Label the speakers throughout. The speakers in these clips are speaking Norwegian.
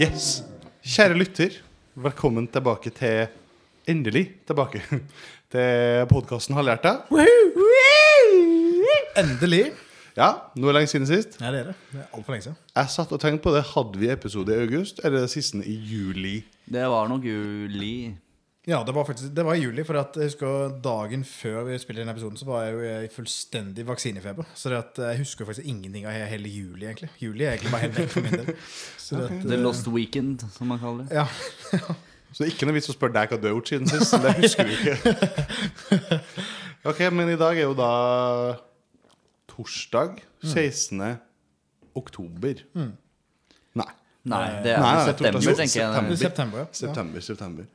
Speaker 1: Yes. Kjære lytter, velkommen tilbake til Endelig tilbake til podkasten Har lært deg.
Speaker 2: Endelig.
Speaker 1: Ja, nå er det lenge siden sist.
Speaker 2: Ja, det er det. Det er altfor lenge siden.
Speaker 1: Jeg satt og tenkte på det. Hadde vi episode i august, eller det siste i juli?
Speaker 3: Det var nok juli.
Speaker 2: Ja, det var faktisk Det var i juli. For at jeg husker dagen før vi spilte inn episoden, så var jeg jo i fullstendig vaksinefeber. Så det at eh, jeg husker faktisk ingenting av he- hele juli, egentlig. Juli er egentlig bare helt vekk for min del. Så det at, eh,
Speaker 3: The Lost Weekend, som man kaller det.
Speaker 2: ja.
Speaker 1: Så det er ikke noe vits å spørre deg hva du har gjort siden sist. Det husker du ikke. Ok, men i dag er jo da torsdag 16. oktober. Nei.
Speaker 3: Eh, Nei, det er
Speaker 1: Nei,
Speaker 3: vel
Speaker 1: nei,
Speaker 3: september,
Speaker 1: torsdag-
Speaker 3: tenker
Speaker 2: Det
Speaker 3: jeg.
Speaker 1: september.
Speaker 2: er september, ja. ja.
Speaker 1: September, september.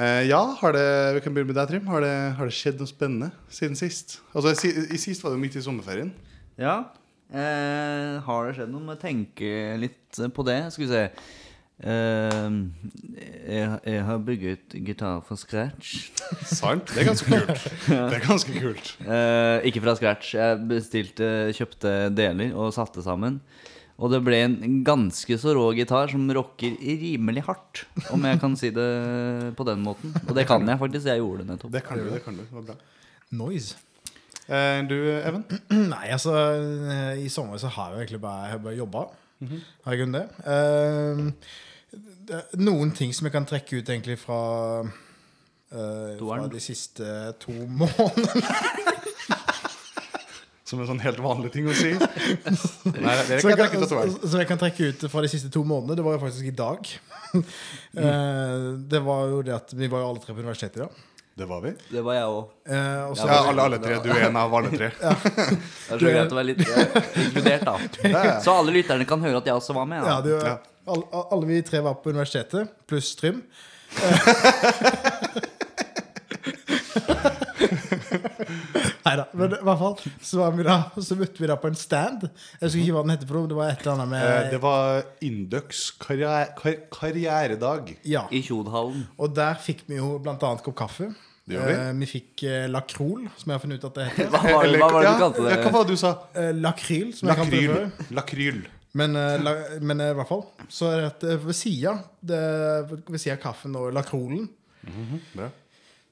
Speaker 1: Eh, ja, har det, vi kan begynne med deg, Trym. Har det, har det skjedd noe spennende siden sist? Altså, si, i Sist var det jo midt i sommerferien.
Speaker 3: Ja. Eh, har det skjedd noe? Må tenke litt på det. Skal vi se. Eh, jeg, jeg har bygget gitar fra scratch.
Speaker 1: Sant? Det er ganske kult. Det er ganske kult.
Speaker 3: Eh, ikke fra scratch. Jeg bestilte, kjøpte deler og satte sammen. Og det ble en ganske så rå gitar som rocker rimelig hardt, om jeg kan si det på den måten. Og det kan jeg faktisk. Jeg gjorde det nettopp.
Speaker 1: Det kan du. det kan du, det var bra.
Speaker 2: Noise.
Speaker 1: Eh, du, Even?
Speaker 2: Nei, altså eh, I sommer så har jeg jo egentlig bare, jeg har bare jobba.
Speaker 1: Mhm.
Speaker 2: Har jeg kunnet det? Eh, det? er Noen ting som jeg kan trekke ut egentlig fra eh, Fra
Speaker 3: Toeren.
Speaker 2: de siste to månedene.
Speaker 1: Som en sånn helt vanlig ting å si. Nei, dere
Speaker 2: Som
Speaker 1: kan
Speaker 2: jeg,
Speaker 1: trekke
Speaker 2: kan,
Speaker 1: tatovering.
Speaker 2: som jeg kan trekke ut fra de siste to månedene. Det var jo faktisk i dag.
Speaker 1: Mm.
Speaker 2: Eh, det var jo det at Vi var jo alle tre på universitetet i dag.
Speaker 1: Det var vi.
Speaker 3: Det var jeg òg.
Speaker 2: Eh, og så-
Speaker 1: Ja, alle, alle tre. Du er en av alle tre.
Speaker 3: Det er så greit å være litt eh, inkludert, da.
Speaker 1: ja.
Speaker 3: Så alle lytterne kan høre at jeg også var med.
Speaker 2: ja,
Speaker 3: Da.
Speaker 2: det-
Speaker 1: Ja.
Speaker 2: alle, alle vi tre var på universitetet, pluss Trym. Nei da. Men i hvert fall så, var vi da, så møtte vi da på en stand. Jeg husker ikke hva den heter for noe. Det var et eller annet
Speaker 1: Eh,
Speaker 2: med
Speaker 1: Det var Indux karriere, kar, karrieredag.
Speaker 2: ja.
Speaker 3: I Tjodhallen.
Speaker 2: Og der fikk vi jo bl.a. kopp kaffe.
Speaker 1: Det gjorde vi.
Speaker 2: Eh, vi fikk eh, lakrol, som jeg har funnet ut at det heter.
Speaker 3: Hva var det, hva var det du kalte
Speaker 1: Ja, hva
Speaker 3: det?
Speaker 1: var det du sa?
Speaker 2: Eh, lakryl, som jeg kalte det
Speaker 1: Lakryl.
Speaker 2: før.
Speaker 1: Lakryl.
Speaker 2: Men, eh, la, men eh, i hvert fall Så er det at eh, ved sida det- Ved sida av kaffen og lakrolen
Speaker 1: Bra.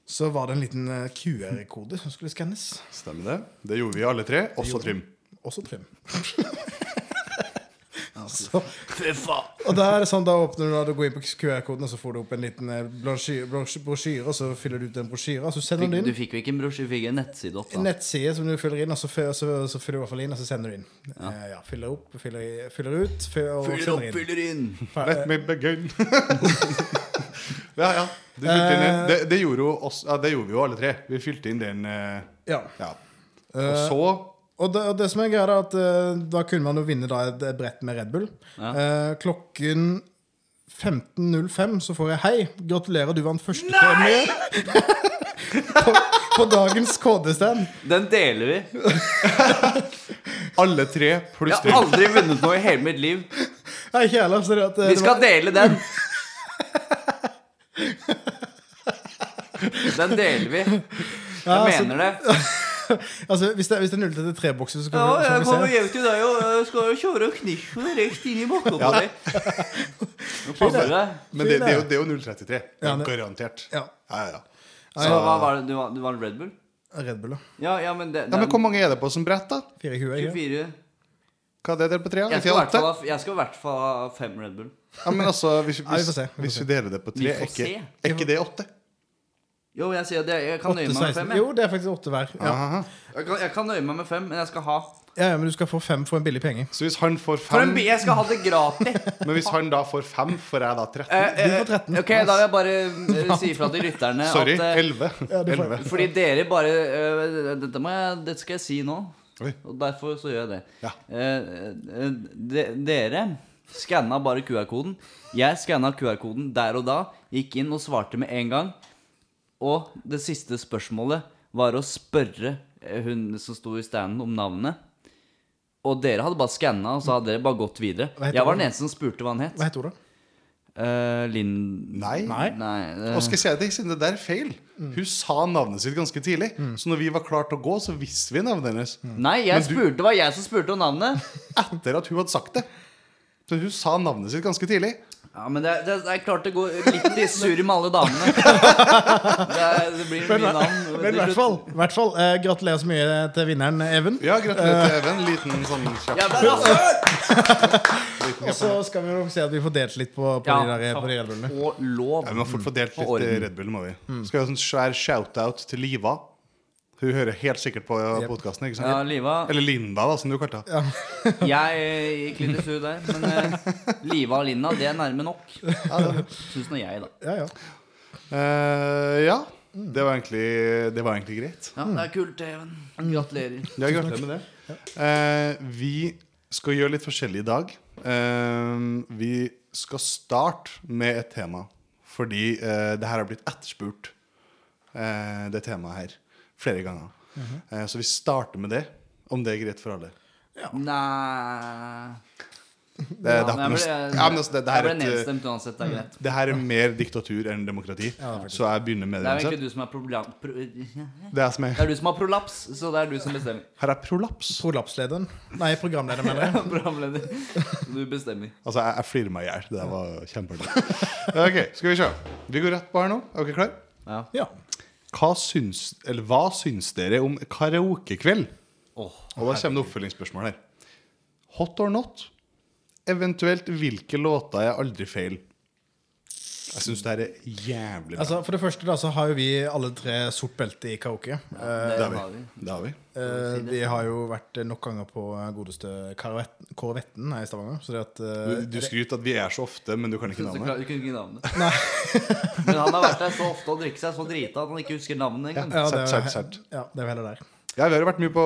Speaker 2: Så var det en liten eh, QR-kode som skulle skannes.
Speaker 1: Stemmer det. Det gjorde vi alle tre, også
Speaker 2: Gjorde-
Speaker 1: Trym.
Speaker 2: Også Trym. Så, og da er det sånn, da åpner du da du går inn på QR-koden, og så får du opp en liten eh, blansje- brosj- brosjyre, og så fyller du ut den brosjyra, og så sender
Speaker 3: Fikk,
Speaker 2: du den
Speaker 3: du
Speaker 2: inn.
Speaker 3: fikk jo ikke en brosjyre, du fikk en nettside opp,
Speaker 2: En
Speaker 3: da.
Speaker 2: nettside som du fyller inn, og så, fø- så, så fyller du i hvert fall inn, og så sender du inn. Ja, ja Fyller opp, fyller, i- fyller ut, fyller, og
Speaker 3: Fyller opp,
Speaker 2: sender inn.
Speaker 3: fyller inn!
Speaker 2: Fer-
Speaker 1: Let me begin. ja, ja. Du fylte inn,
Speaker 2: Eh.
Speaker 1: den. det, det, gjorde jo oss, ja, det gjorde vi jo alle tre. Vi fylte inn den. eh,
Speaker 2: Ja.
Speaker 1: Ja. Og
Speaker 2: Eh.
Speaker 1: så
Speaker 2: Og det, og det som er greia, er at eh, da kunne man jo vinne da et et brett med Red Bull. Eh, klokken 15.05 så får jeg Hei, gratulerer, du vant første premie på, på dagens KD-stand.
Speaker 3: Den deler vi.
Speaker 1: alle tre pluss
Speaker 3: Jeg
Speaker 1: Trym.
Speaker 3: har aldri vunnet noe i hele mitt liv.
Speaker 2: Nei, ikke heller. Så det at, eh,
Speaker 3: Vi
Speaker 2: det
Speaker 3: skal dele den. Den deler vi.
Speaker 2: Ja,
Speaker 3: Jeg
Speaker 2: altså-
Speaker 3: mener det.
Speaker 2: var, altså, hvis, det, hvis det er 0 til 3-bokser, så
Speaker 3: Ja,
Speaker 2: kan vi- så
Speaker 3: jeg
Speaker 2: kan
Speaker 3: kommer
Speaker 2: vi se.
Speaker 3: hjem til deg og jeg skal jo kjøre og kniffe rett inn i bakka på deg. Nå passer det.
Speaker 1: Men det, det, er jo, det er jo 0,33.
Speaker 2: Ja, det-
Speaker 1: Garantert.
Speaker 2: Ja.
Speaker 1: Ja, ja.
Speaker 3: Så hva var det? Du var, du var Red Bull?
Speaker 2: Red Bull, da.
Speaker 3: Ja, ja, men det,
Speaker 1: ja, Men
Speaker 3: den-
Speaker 1: hvor mange er det på som brett, da?
Speaker 2: 24. ikke?
Speaker 3: 24.
Speaker 1: Hva er det dere på tre? da?
Speaker 3: Jeg
Speaker 1: Ikke
Speaker 3: skal i hvert fall
Speaker 1: åtte?
Speaker 3: ha, jeg skal i hvert fall ha fem Red Bull.
Speaker 1: Ja, men altså, hvis,
Speaker 2: Ja, vi får
Speaker 1: hvis,
Speaker 2: se, vi får
Speaker 1: hvis
Speaker 2: se.
Speaker 1: vi deler det på tre,
Speaker 3: Vi
Speaker 1: er
Speaker 3: får
Speaker 1: ikke,
Speaker 3: se.
Speaker 1: er ikke det åtte?
Speaker 3: Jo, jeg sier det. Jeg kan nøye
Speaker 2: Åtte,
Speaker 3: meg
Speaker 2: 16.
Speaker 3: med fem. Jeg.
Speaker 2: Jo, det er faktisk åtte hver. Ja.
Speaker 1: Aha.
Speaker 3: Jeg, kan, jeg kan nøye meg med fem, men jeg skal ha
Speaker 2: Ja, ja, men du skal få fem for en billig penge.
Speaker 1: Så hvis han får
Speaker 3: For en
Speaker 1: fem
Speaker 3: bi- Jeg skal ha det gratis!
Speaker 1: Men hvis han da får fem, får jeg da 13?
Speaker 3: Eh, eh,
Speaker 2: Du får 13.
Speaker 3: ok, da vil jeg bare eh, si ifra til lytterne
Speaker 1: Sorry,
Speaker 3: at eh,
Speaker 1: 11.
Speaker 2: Ja, du får-
Speaker 1: 11.
Speaker 3: Fordi dere bare eh, dette, må jeg, dette skal jeg si nå.
Speaker 1: Oi.
Speaker 3: Og derfor så gjør jeg det.
Speaker 1: Ja.
Speaker 3: Eh, eh, de, dere skanna bare QR-koden. Jeg skanna QR-koden der og da. Gikk inn og svarte med en gang. Og det siste spørsmålet var å spørre eh, hun som sto i standen, om navnet. Og dere hadde bare skanna, og så hadde dere bare gått videre.
Speaker 2: Hva heter
Speaker 3: Jeg var
Speaker 2: hun?
Speaker 3: den eneste som spurte hva han het.
Speaker 2: Hva heter Ola?
Speaker 3: Eh, Linn...
Speaker 1: Nei.
Speaker 3: Nei, eh, Mm.
Speaker 1: Og skal jeg si deg, siden det der er feil Hun sa navnet sitt ganske tidlig. Så når vi var klare til å gå, så visste vi navnet hennes.
Speaker 3: nei jeg spurte, det var jeg som spurte om navnet.
Speaker 1: Etter at hun hadde sagt det. Så hun sa navnet sitt ganske tidlig.
Speaker 3: Ja, men det er, det er- det er klart det går litt i surr med alle damene. Det, er, det blir mye navn. til
Speaker 2: Men i hvert
Speaker 3: slutt.
Speaker 2: fall, i hvert fall eh, gratulerer så mye til vinneren, Even.
Speaker 1: Ja, gratulerer til Even. Liten sånn kjapp
Speaker 3: Jævla rasshøl!
Speaker 1: liten
Speaker 2: Og
Speaker 1: kjapp.
Speaker 2: så skal vi jo se at vi får delt litt på, på
Speaker 3: Ja,
Speaker 2: de der eh, på de
Speaker 3: takk
Speaker 2: elvene.
Speaker 3: og lov.
Speaker 1: Ja, Vi må fort få delt
Speaker 3: Og
Speaker 1: litt eh,
Speaker 3: orden.
Speaker 1: Red Bull, må vi.
Speaker 3: Mm.
Speaker 1: Skal vi ha en sånn svær shout-out til Liva. Hun hører helt sikkert på
Speaker 2: Yep.
Speaker 1: podkasten, ikke
Speaker 3: Ja,
Speaker 1: sant?
Speaker 3: Liva.
Speaker 1: Eller Linda, da, som du kalte henne.
Speaker 3: Jeg eh, gikk litt i surr der. Men eh, Liva og Linda, det er nærme nok. Syns nå jeg, da.
Speaker 2: Ja, ja.
Speaker 1: Eh, ja.
Speaker 3: Mm.
Speaker 1: Det var egentlig, det var egentlig greit.
Speaker 3: Ja, det er kult, Even. Gratulerer.
Speaker 1: Ja, gratulerer med det. Eh, vi skal gjøre litt forskjellig i dag. Eh, vi skal starte med et tema, fordi eh, det her har blitt etterspurt, eh, det temaet her, flere ganger.
Speaker 3: Mhm.
Speaker 1: Eh, så vi starter med det, om det er greit for alle.
Speaker 3: Nei
Speaker 1: Det, Eh, det, har
Speaker 3: Ja,
Speaker 1: ikke noe,
Speaker 3: men jeg
Speaker 1: s-
Speaker 3: ble-
Speaker 1: ja, men altså, det, det, her
Speaker 3: Jeg ble
Speaker 1: er et,
Speaker 3: nedstemt uansett, det er greit.
Speaker 1: eh, det her er mer diktatur enn demokrati, så jeg begynner med
Speaker 3: Det
Speaker 1: det.
Speaker 3: er
Speaker 1: uansett.
Speaker 3: jo egentlig du som er problem... Pro, det
Speaker 1: Det er som er,
Speaker 3: er du som har prolaps, så det er du som bestemmer.
Speaker 1: her er prolaps.
Speaker 2: Prolapslederen. Nei, programlederen, mener jeg.
Speaker 3: Programleder. Du bestemmer.
Speaker 1: Altså, jeg, jeg flirer meg i hjel. Det der var kjempeartig. Ok, skal vi se. Vi går rett på her nå. Er dere klare?
Speaker 3: Ja.
Speaker 2: Ja.
Speaker 1: Hva syns, eller hva syns dere om karaokekveld?
Speaker 3: Åh.
Speaker 1: Og da kommer det oppfølgingsspørsmål her. Hot or not? Eventuelt hvilke låter er aldri feil? Jeg syns det her er jævlig bra.
Speaker 2: Altså, for det første da, så har jo vi alle tre sort belte i karaoke. Eh,
Speaker 1: det sånn.
Speaker 3: det
Speaker 1: har
Speaker 3: har
Speaker 1: vi.
Speaker 3: vi.
Speaker 1: Det har vi.
Speaker 2: eh, vi har jo vært eh, nok ganger på eh, godeste Karavett- Korvetten her i Stavanger. Så det at eh,
Speaker 1: Du, du skryter at vi er så ofte, men du kan ikke
Speaker 3: Synes Du
Speaker 1: navnet.
Speaker 3: klar- du kunne ikke navnet. Men han har vært der så ofte og drukket seg så drita at han ikke husker navnet engang.
Speaker 2: ja, det,
Speaker 1: Sært,
Speaker 2: er-
Speaker 1: sært, sært.
Speaker 2: Ja, det er jo heller der.
Speaker 1: Ja, vi har jo vært mye på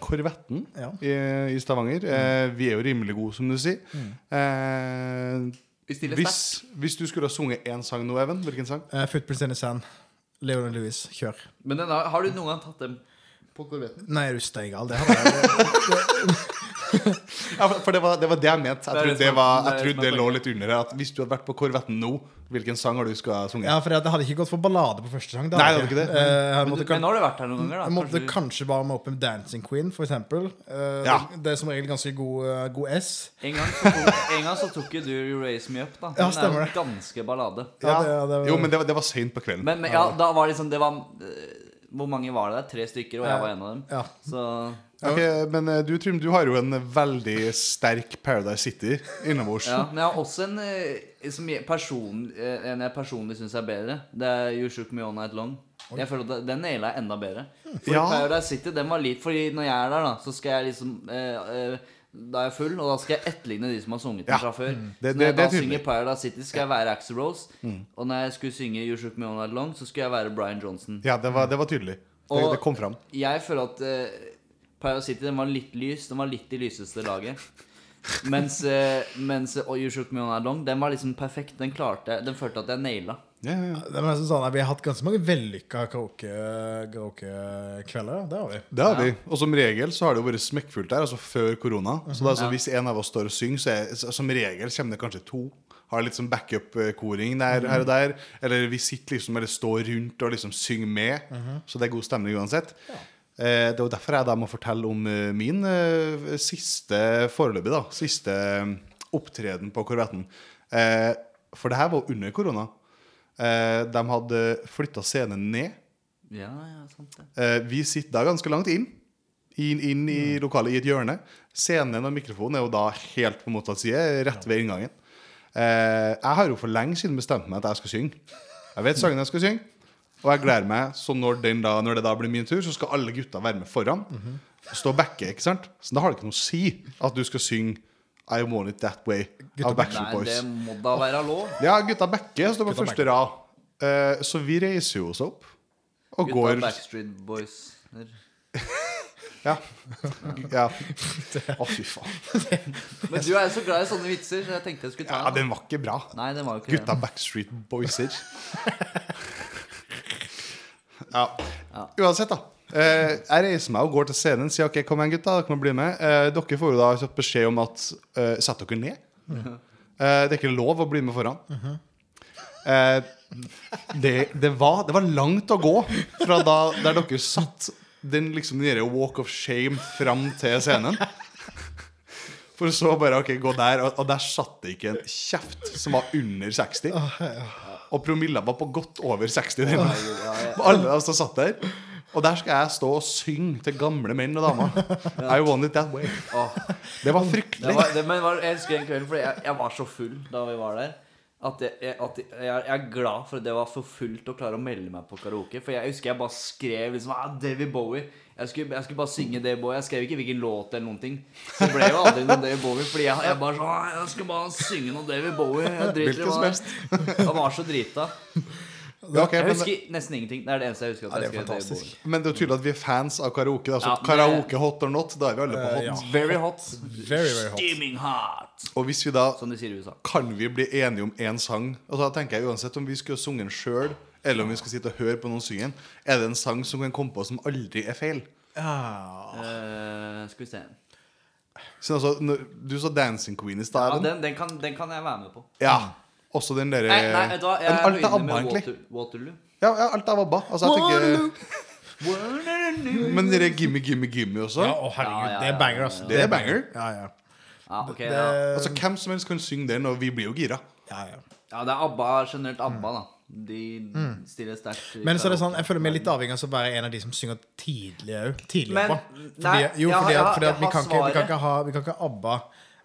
Speaker 1: Korvetten
Speaker 2: Ja.
Speaker 1: i, i Stavanger. Eh, vi er jo rimelig gode, som du sier.
Speaker 3: Vi
Speaker 1: Eh,
Speaker 3: stiller
Speaker 1: hvis,
Speaker 3: sterkt.
Speaker 1: hvis du skulle ha sunget én sang nå, Even, hvilken sang?
Speaker 2: Eh, Footprints in the Sand. Leon Louis, kjør.
Speaker 3: Men den har, har du noen gang tatt dem på korvetten?
Speaker 2: Nei, er du steigal? Det hadde jeg
Speaker 1: Ja, for- for det var, det var det jeg mente. Jeg
Speaker 3: Det er
Speaker 1: trodde
Speaker 3: det
Speaker 1: det,
Speaker 3: som-
Speaker 1: var,
Speaker 3: det
Speaker 1: jeg
Speaker 3: er det
Speaker 1: trodde det
Speaker 3: som er
Speaker 1: lå litt under her. At hvis du hadde vært på Korvetten nå, hvilken sang har du skulle ha sunget?
Speaker 2: Ja, for det hadde ikke gått for ballade på første sang.
Speaker 1: Nei,
Speaker 2: hadde
Speaker 1: det hadde ikke det.
Speaker 2: Eh, jeg
Speaker 3: Men,
Speaker 2: måtte
Speaker 3: du, men nå har du vært her noen ganger, da.
Speaker 2: Jeg måtte
Speaker 3: Kanskje du-
Speaker 2: kanskje varme opp en Dancing Queen, for eksempel. Eh,
Speaker 1: Ja.
Speaker 2: det, det er som regel ganske god, eh, god S.
Speaker 3: En gang, så tok, en gang så tok jo du You Raise Me Up, da. Den
Speaker 2: stemmer
Speaker 3: er
Speaker 2: det.
Speaker 3: jo ganske ballade.
Speaker 2: Ja, det- det var-
Speaker 1: Jo, men det var, det var seint på kvelden.
Speaker 3: Men, men ja, da var det liksom Det var eh, Hvor mange var det der? Tre stykker, og jeg var en av dem.
Speaker 2: Ja.
Speaker 3: Så
Speaker 1: Ok, men eh, du Trym, du har jo en veldig sterk Paradise City innabords.
Speaker 3: ja, Men jeg har også en eh, som jeg, person, eh, en jeg personlig syns er bedre. Det er You Shook Me All Night Long. Jeg føler at Den naila jeg enda bedre. For
Speaker 1: Hmm. Ja.
Speaker 3: Paradise City, den var litt Fordi når jeg er der, da, så skal jeg liksom eh, eh, Da er jeg full, og da skal jeg etterligne de som har sunget den
Speaker 1: Ja. Hmm.
Speaker 3: fra før.
Speaker 1: Det-
Speaker 3: så
Speaker 1: det-
Speaker 3: når
Speaker 1: det
Speaker 3: jeg da
Speaker 1: er tydelig. Hmm.
Speaker 3: synger Paradise City, skal jeg være Axl Rose. Og når jeg skulle synge You Shook Me All Night Long, så skulle jeg være Brian Johnson.
Speaker 1: Ja, det var, det var tydelig. Det,
Speaker 3: Og-
Speaker 1: det kom fram.
Speaker 3: Jeg føler at uh, Paradise City den var litt lys. Den var litt i lyseste laget. Mens, eh, mens eh, Oh, You Shook Me On Night Long, den var liksom perfekt. Den klarte jeg- Den følte at jeg naila.
Speaker 1: Ja, ja, ja.
Speaker 2: Det er nesten sånn at Vi har hatt ganske mange vellykka karaoke- karaokekvelder. ja. Det har vi.
Speaker 1: Det har vi. Og som regel så har det jo vært smekkfullt der, altså før korona. Så det er sånn, hvis en av oss står og synger, så er så- som regel kommer det kanskje to. Har litt sånn backup-koring der, her og der. Eller vi sitter liksom eller står rundt og liksom synger med. Så det er god stemning uansett. Eh, det er jo derfor jeg da må fortelle om eh, min eh, siste foreløpig, da. Siste eh, opptreden på Korvetten. Eh, for det her var under korona. Eh, de hadde flytta scenen ned.
Speaker 3: Ja, ja, sant det.
Speaker 1: Eh, vi sitter da ganske langt inn. Inn, inn i
Speaker 3: Mm.
Speaker 1: lokalet, i et hjørne. Scenen og mikrofonen er jo da helt på motsatt side, rett ved inngangen. Eh, jeg har jo for lenge siden bestemt meg at jeg skal synge. Jeg vet sangen jeg skal synge, og jeg gleder meg. Så når, den da, når det da blir min tur, så skal alle gutta være med foran.
Speaker 3: Mhm.
Speaker 1: Og Stå og backe, ikke sant? Så da har det ikke noe å si at du skal synge I Want It That Way av Backstreet
Speaker 3: Nei,
Speaker 1: Boys.
Speaker 3: det må da være lov.
Speaker 1: Ja, gutta Bekke står på
Speaker 2: Gutta
Speaker 1: første rad. Eh, så vi reiser jo oss opp og
Speaker 3: Gutta
Speaker 1: går
Speaker 3: Backstreet Boys.
Speaker 1: Ja. ja. Å, fy faen.
Speaker 3: Men du er jo så glad i sånne vitser, så jeg tenkte jeg skulle ta
Speaker 1: Ja, den var ikke bra.
Speaker 3: Nei, den var jo ikke
Speaker 1: Gutta Backstreet Boyser. Ja. Uansett, da. Eh, jeg reiser meg og går til scenen sier ok, kom igjen, gutta. Dere må bli med. Eh, dere får jo da kjapt beskjed om at eh, sett dere ned. Eh, det er ikke lov å bli med foran. eh, det, det, var, det var langt å gå fra da der dere satt den liksom den der walk of shame fram til scenen. For så bare ok, gå der, og, og der satt det ikke en kjeft som var under 60. Og promilla var på godt over 60. Den. Og Alle altså, satt der. Og der skal jeg stå og synge til gamle menn og damer. I want it that way.
Speaker 3: Åh,
Speaker 1: Det var
Speaker 3: det
Speaker 1: fryktelig.
Speaker 3: var, det, men var, jeg husker den kvelden, fordi jeg, jeg var så full da vi var der. At, jeg, jeg- at jeg, jeg er glad for at det var for fullt å klare å melde meg på karaoke. For jeg husker jeg bare skrev liksom ah, David Bowie. Jeg skulle, jeg skulle bare synge David Bowie. Jeg skrev ikke hvilken låt eller noen ting. Så ble det jo aldri noe David Bowie. Fordi jeg, jeg bare sånn «Ah, Jeg skal bare synge noe David Bowie. Jeg driter i
Speaker 1: Hvilken som helst.
Speaker 3: hva Han var så drita.
Speaker 1: Ja, ok,
Speaker 3: Jeg
Speaker 1: men-
Speaker 3: husker nesten ingenting. Det er det eneste jeg husker.
Speaker 2: Ja,
Speaker 3: at
Speaker 2: det
Speaker 3: jeg
Speaker 2: er
Speaker 3: skrev David
Speaker 2: fantastisk.
Speaker 3: Bowie
Speaker 1: Men det er jo tydelig at vi er fans av karaoke. Da. Så
Speaker 3: Ja, men-
Speaker 1: karaoke hot or not, da er vi alle på
Speaker 2: Eh,
Speaker 1: hot.
Speaker 2: ja.
Speaker 3: Very hot.
Speaker 2: Very, very hot.
Speaker 3: Steaming hot.
Speaker 1: Og hvis vi da
Speaker 3: Som de sier i USA.
Speaker 1: kan vi bli enige om én sang? Og da tenker jeg uansett om vi skulle ha sunget den sjøl, eller om vi skal sitte og høre på noen synge den, er det en sang som kan komme på som aldri er feil?
Speaker 2: Ja.
Speaker 3: Eh, skal vi se.
Speaker 1: Så altså, når- du sa 'Dancing Queen' i stad.
Speaker 3: Ja,
Speaker 1: Even.
Speaker 3: den, den, kan, den kan jeg være med på.
Speaker 1: Ja. Også den derre
Speaker 3: Nei, nei, vet du hva, jeg
Speaker 1: Men
Speaker 3: er
Speaker 1: Alt er
Speaker 3: uenig
Speaker 1: ABBA,
Speaker 3: med
Speaker 1: egentlig.
Speaker 3: Water, Waterloo.
Speaker 1: Ja, ja, alt er ABBA. Altså, jeg
Speaker 2: Waterloo.
Speaker 1: tenker, men dere Gimme Gimme Gimme også.
Speaker 2: Ja, å, herregud.
Speaker 3: Ja, ja,
Speaker 2: Det
Speaker 3: ja,
Speaker 2: er banger, ass.
Speaker 3: ja, ja.
Speaker 1: Det er banger.
Speaker 2: Ja, ja.
Speaker 3: Ja, ok,
Speaker 2: Det,
Speaker 3: ja.
Speaker 1: Altså, Hvem som helst kan synge den, og vi blir jo gira.
Speaker 2: ja, ja.
Speaker 3: ja, det er ABBA, generelt ABBA, da. De stiller sterkt. i
Speaker 2: Mm. Men så er det sånn,
Speaker 3: karaoke.
Speaker 2: jeg føler meg litt avhengig av å være en av de som synger tidlig òg. Tidlig,
Speaker 3: Men-
Speaker 2: iallfall.
Speaker 3: nei,
Speaker 2: Fordi, jo,
Speaker 3: jeg har-
Speaker 2: fordi,
Speaker 3: jeg
Speaker 2: at,
Speaker 3: har-
Speaker 2: fordi
Speaker 3: jeg
Speaker 2: at vi,
Speaker 3: har
Speaker 2: kan ikke, vi, kan
Speaker 3: svaret.
Speaker 2: ikke ha, vi kan ikke ha ABBA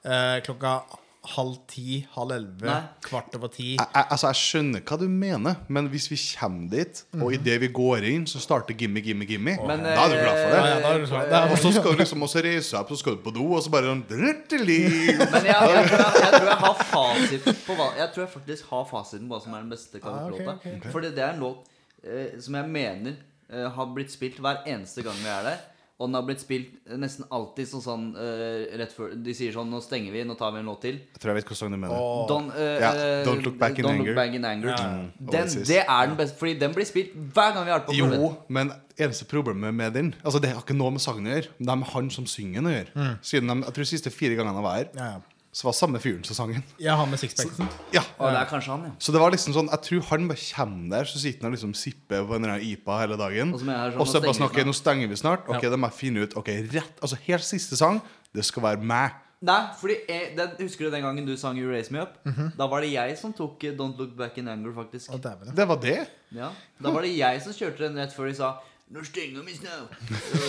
Speaker 2: eh, klokka halv ti, halv elleve,
Speaker 3: Nei.
Speaker 2: kvart over ti.
Speaker 1: Jeg, jeg, altså, jeg skjønner hva du mener, men hvis vi kommer dit, og idet vi går inn, så starter Gimme Gimme Gimme,
Speaker 3: Mhm. Men, eh,
Speaker 1: da er du glad for det.
Speaker 2: Ja, ja, da er det sånn.
Speaker 1: Og så skal du liksom også reise deg opp, så skal du på do, og så bare sånn drøtteli.
Speaker 3: Men jeg, jeg, tror jeg, jeg tror jeg har fasiten på hva Jeg tror jeg faktisk har fasiten på hva som er den beste karaoke-låta.
Speaker 2: Ah, ok, ok.
Speaker 3: Fordi det er en låt eh, som jeg mener eh, har blitt spilt hver eneste gang vi er der. Og den har blitt spilt eh, nesten alltid sånn sånn eh, rett før De sier sånn Nå stenger vi, nå tar vi en låt til.
Speaker 1: Jeg tror jeg vet hva sang du mener.
Speaker 2: Åh.
Speaker 3: Don't, eh,
Speaker 1: Ja,
Speaker 3: eh,
Speaker 1: Don't Look Back in
Speaker 3: Don't Look
Speaker 1: Anger.
Speaker 3: Back in Anger.
Speaker 2: Ja.
Speaker 1: Mm,
Speaker 3: Den,
Speaker 1: Oasis.
Speaker 3: det er den beste, fordi den blir spilt hver gang vi har vært på
Speaker 1: Jo,
Speaker 3: konsert.
Speaker 1: men eneste problemet med den Altså Det har ikke noe med sangen å gjøre, men det er med han som synger den å gjøre.
Speaker 3: Mm.
Speaker 1: Siden de, jeg tror de siste fire gangene jeg var her,
Speaker 2: Ja, ja.
Speaker 1: så var samme fyren som sangen.
Speaker 2: Jeg har med sixpacken.
Speaker 1: Ja.
Speaker 3: Og det er kanskje han, ja.
Speaker 1: Så det var liksom sånn Jeg tror han bare kommer der, så sitter han og liksom sipper på en eller annen IPA hele dagen.
Speaker 3: Og så mener jeg sånn,
Speaker 1: Og så
Speaker 3: nå
Speaker 1: bare
Speaker 3: stenger
Speaker 1: sånn
Speaker 3: vi
Speaker 1: Ok, nå stenger vi snart. Ok, da må jeg finne ut Ok, rett Altså helt siste sang, det skal være meg.
Speaker 3: Nei, fordi jeg, den, Husker du den gangen du sang You Raise Me Up?
Speaker 1: Mhm.
Speaker 3: Da var det jeg som tok eh, Don't Look Back in Anger, faktisk.
Speaker 2: Å, dæven, ja.
Speaker 1: Det var det.
Speaker 3: Ja, Da var det jeg som kjørte den rett før de sa Nå stenger vi snart.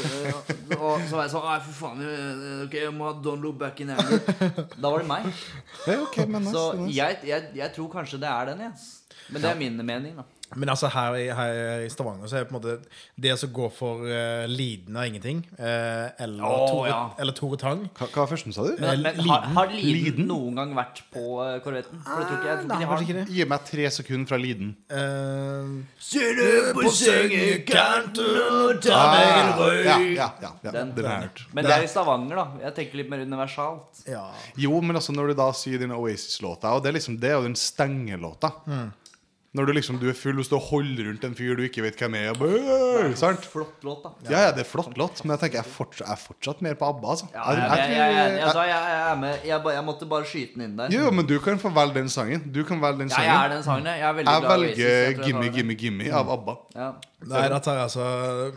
Speaker 3: Og så var jeg sånn Nei, for faen. eh, Ok, jeg må ha Don't Look Back in Anger. Da var det meg.
Speaker 1: Ja, ok, men nice,
Speaker 3: Så
Speaker 1: nice.
Speaker 3: jeg, jeg, jeg tror kanskje det er den, jeg. Men det er min mening, da.
Speaker 2: Men altså her, i- her i Stavanger så er det på en måte det som går for uh, liden av ingenting, eh, eller,
Speaker 3: Åh,
Speaker 2: Tore,
Speaker 3: ja.
Speaker 2: eller Tore Tang
Speaker 1: Hva, hva var førsten, sa du?
Speaker 3: Men, men har, har Liden,
Speaker 1: Liden?
Speaker 3: noen gang vært på eh, korvetten? For det tror ikke jeg, jeg tror
Speaker 2: Nei,
Speaker 3: ikke de har
Speaker 2: kanskje
Speaker 3: den.
Speaker 2: ikke det.
Speaker 1: Gi meg tre sekunder fra Liden.
Speaker 2: Eh,
Speaker 3: Ser du på sengekanten og tar
Speaker 1: Ah,
Speaker 3: meg en
Speaker 1: ja,
Speaker 3: røyk?
Speaker 1: ja, ja, ja. Den,
Speaker 3: Den.
Speaker 1: har jeg hørt.
Speaker 3: Men det er i Stavanger, da. Jeg tenker litt mer universalt.
Speaker 2: ja.
Speaker 1: Jo, men altså når du da sier dine Oasis-låta, og det er liksom det er jo den stengelåta Når du liksom du er full og står og holder rundt en fyr du ikke vet hvem er, og bare, sant?
Speaker 3: Flott låt, da.
Speaker 1: Ja, ja, det er flott låt, men jeg tenker jeg er fortsatt, jeg er fortsatt mer på ABBA, altså.
Speaker 3: Ja, jeg, jeg, jeg, jeg, jeg, jeg, jeg er med. Jeg, ba- jeg måtte bare skyte den inn der.
Speaker 1: jo, jo, men du kan få velge den sangen. Du kan velge den
Speaker 3: Ja, jeg
Speaker 1: sangen.
Speaker 3: er den sangen. Jeg er veldig
Speaker 1: Jeg
Speaker 3: glad i Oasis,
Speaker 1: velger
Speaker 3: jeg tror jeg tar
Speaker 1: 'Gimme,
Speaker 3: den.
Speaker 1: gimme, gimme' av ABBA.
Speaker 3: Ja.
Speaker 2: Nei, da tar jeg altså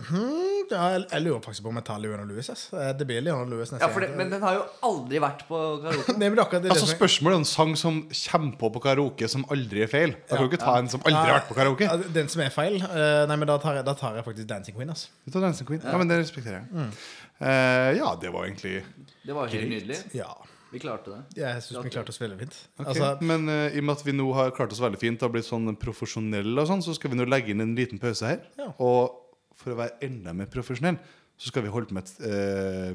Speaker 2: hmm, ja, jeg, jeg lurer faktisk på om jeg tar Leona Lewis. ass. Eh, Det blir Leona Lewis neste
Speaker 3: ja for det, men den har jo aldri vært på karaoke.
Speaker 2: Nei, men det er akkurat det,
Speaker 1: Altså
Speaker 2: det som er-
Speaker 1: Spørsmålet er en sang som kommer på på karaoke som aldri er feil. Da kan du ikke ta en som aldri har vært på karaoke.
Speaker 2: Ja, den som er feil? Eh, Nei, men da tar jeg, da tar jeg faktisk Dancing Queen. ass.
Speaker 1: Du tar Dancing Queen. Ja, men det respekterer jeg. Eh, ja, det var egentlig
Speaker 3: Det var helt nydelig.
Speaker 2: Ja.
Speaker 3: Vi klarte det.
Speaker 2: Jeg syns vi klarte oss veldig fint.
Speaker 1: Ok,
Speaker 2: Altså,
Speaker 1: Men eh, i og med at vi nå har klart oss veldig fint og blitt sånn profesjonelle, og sånn, så skal vi nå legge inn en liten pause her.
Speaker 2: Ja.
Speaker 1: Og for å være enda mer profesjonell, så skal vi holde på med et eh,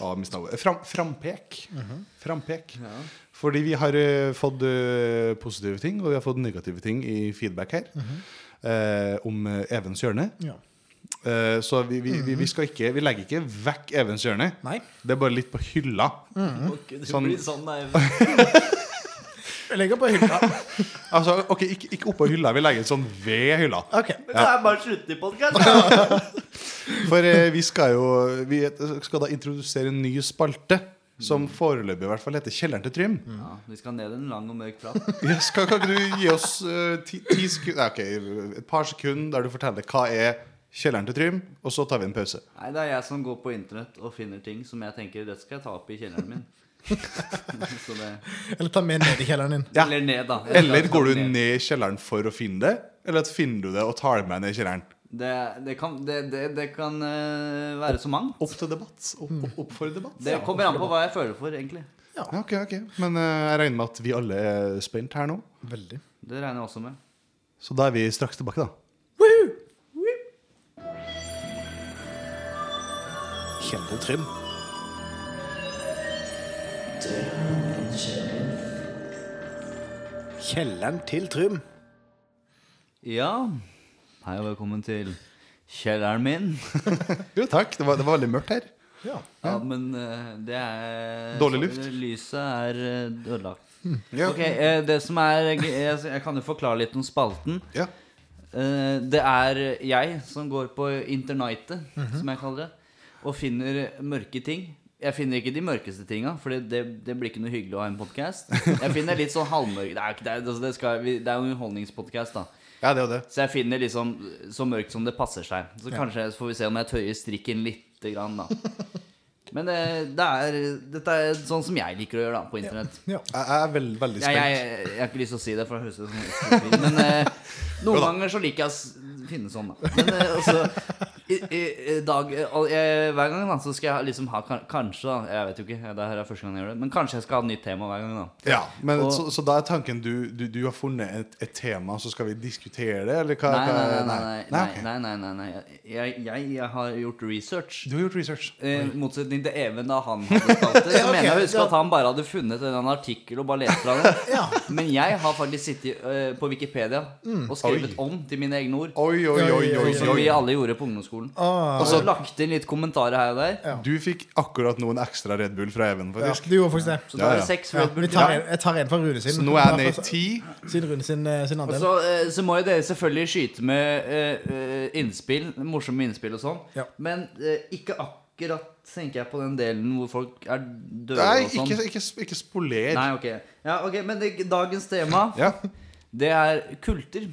Speaker 1: ja, mistet ordet. Fram, frampek.
Speaker 2: Mhm.
Speaker 1: Frampek.
Speaker 3: Ja.
Speaker 1: Fordi vi har eh, fått eh, positive ting, og vi har fått negative ting i feedback her.
Speaker 2: Mhm.
Speaker 1: eh, om eh, Evens hjørne.
Speaker 2: ja.
Speaker 1: Eh, så vi, vi, vi, vi, skal ikke, vi legger ikke vekk Evens hjørne.
Speaker 2: Nei.
Speaker 1: Det er bare litt på hylla.
Speaker 3: Ok, det
Speaker 1: Sånn-
Speaker 3: blir sånn, nei.
Speaker 2: Jeg legger på hylla.
Speaker 1: Altså, ok, Ikke, ikke oppå hylla, vi legger den sånn ved hylla.
Speaker 2: Ok.
Speaker 3: Men det er bare slutt i podkasten.
Speaker 1: For eh, vi skal jo Vi skal da introdusere en ny spalte. Som foreløpig i hvert fall heter Kjelleren til Trym.
Speaker 3: Ja, vi skal ned en lang og mørk trapp.
Speaker 1: Ja, skal, kan ikke du gi oss eh, ti, ti sekunder, nei, ok, et par sekunder der du forteller hva er kjelleren til Trym, og så tar vi en pause.
Speaker 3: Nei, det er jeg som går på internett og finner ting som jeg tenker det skal jeg ta opp i kjelleren min. Så det,
Speaker 2: Eller ta med ned i kjelleren din.
Speaker 1: Ja.
Speaker 3: Eller ned, da. Jeg
Speaker 1: Eller
Speaker 3: skal
Speaker 1: går du
Speaker 3: ned.
Speaker 1: ned i kjelleren for å finne det? Eller at finner du det og tar det med ned i kjelleren?
Speaker 3: Det, det kan, det, det, det kan eh, være så mangt.
Speaker 1: Opp til debatt. Opp, opp, opp for debatt.
Speaker 3: Det kommer an på hva jeg føler for, egentlig.
Speaker 1: Ja, ok, ok. Men eh, jeg regner med at vi alle er spent her nå.
Speaker 2: Veldig.
Speaker 3: Det regner jeg også med.
Speaker 1: Så da er vi straks tilbake, da.
Speaker 2: Kjelleren Trym. Kjelleren til Trym.
Speaker 3: Ja, hei og velkommen til kjelleren min.
Speaker 1: Jo, takk. Det var, det var veldig mørkt her.
Speaker 2: Ja.
Speaker 3: Ja, men eh, det er
Speaker 1: Dårlig luft.
Speaker 3: Lyset er eh, ødelagt.
Speaker 1: Ja.
Speaker 3: Ok, eh, det som er jeg, jeg kan jo forklare litt om spalten.
Speaker 1: Ja.
Speaker 3: Eh, Det er jeg som går på internitet, som jeg kaller det, og finner mørke ting. Jeg finner ikke de mørkeste tinga, for det, det, det blir ikke noe hyggelig å ha en podkast. Jeg finner litt sånn halvmørk Det er, ikke- det er, altså, det skal, vi- det er jo en underholdningspodkast, da.
Speaker 1: ja, det og det.
Speaker 3: Så jeg finner liksom så mørkt som det passer seg. Så kanskje får vi se om jeg tøyer strikken lite grann, da. Men eh, det er, dette er sånn som jeg liker å gjøre, da, på internett.
Speaker 2: ja.
Speaker 1: Jeg, jeg er veld, veldig
Speaker 3: Ja,
Speaker 1: spent.
Speaker 3: jeg, jeg, jeg har ikke lyst til å si det, for det høres ut som en eksklusivt. Men eh, noen ganger så liker jeg å s- finne sånn, da. Men eh, altså i, i, i dag, eh, al- jeg, Hver gang da, så skal jeg liksom ha kan- Kanskje, da. Jeg vet jo ikke. Det her er første gang jeg gjør det. Men kanskje jeg skal ha et nytt tema hver gang, da.
Speaker 1: Ja, men
Speaker 3: Og-
Speaker 1: så, så da er tanken du, du, du har funnet et, et tema, så skal vi diskutere det? Eller hva?
Speaker 3: Nei, nei,
Speaker 1: hva-
Speaker 3: nei. nei, nei,
Speaker 1: ok.
Speaker 3: nei, nei, nei, nei. Jeg, jeg, jeg har gjort research.
Speaker 1: Du har gjort research.
Speaker 3: Eh, I motsetning til Even da han hadde spalter. Så
Speaker 2: Ja, ok,
Speaker 3: mener jeg å huske
Speaker 2: ja.
Speaker 3: at han bare hadde funnet en eller annen artikkel og bare lest fra den.
Speaker 2: Ja.
Speaker 3: Men jeg har faktisk sittet eh, på Wikipedia og skrevet
Speaker 1: Oi.
Speaker 3: om til mine egne ord.
Speaker 1: Oi, oi,
Speaker 2: Oi,
Speaker 1: oi, oi,
Speaker 2: oi,
Speaker 3: Sånn Som vi
Speaker 1: oi.
Speaker 3: alle gjorde på ungdomsskolen.
Speaker 2: Ah,
Speaker 3: Og så lagt inn litt kommentarer her og der.
Speaker 2: Ja.
Speaker 1: Du fikk akkurat nå en ekstra Red Bull fra Even,
Speaker 2: ja.
Speaker 1: faktisk.
Speaker 2: Du gjorde faktisk det.
Speaker 3: Så da
Speaker 1: Ja, ja.
Speaker 3: er det seks
Speaker 2: Ja,
Speaker 3: Red Bull.
Speaker 2: vi tar en, jeg tar en fra Rune sin.
Speaker 1: Så nå er jeg
Speaker 2: Bare
Speaker 1: nede i
Speaker 2: for-
Speaker 1: ti.
Speaker 2: Siden Rune sin, eh, sin
Speaker 3: Og
Speaker 2: andel.
Speaker 3: så, eh, så må jo dere selvfølgelig skyte med eh, eh, innspill, morsomme innspill og sånn.
Speaker 2: Ja.
Speaker 3: Men eh, ikke akkurat tenker jeg på den delen hvor folk er døde
Speaker 1: Nei,
Speaker 3: og sånn.
Speaker 1: ikke, ikke, ikke spoler.
Speaker 3: Nei, ok. Ja, ok, Men det, dagens tema,
Speaker 1: Ja.
Speaker 3: det er kulter.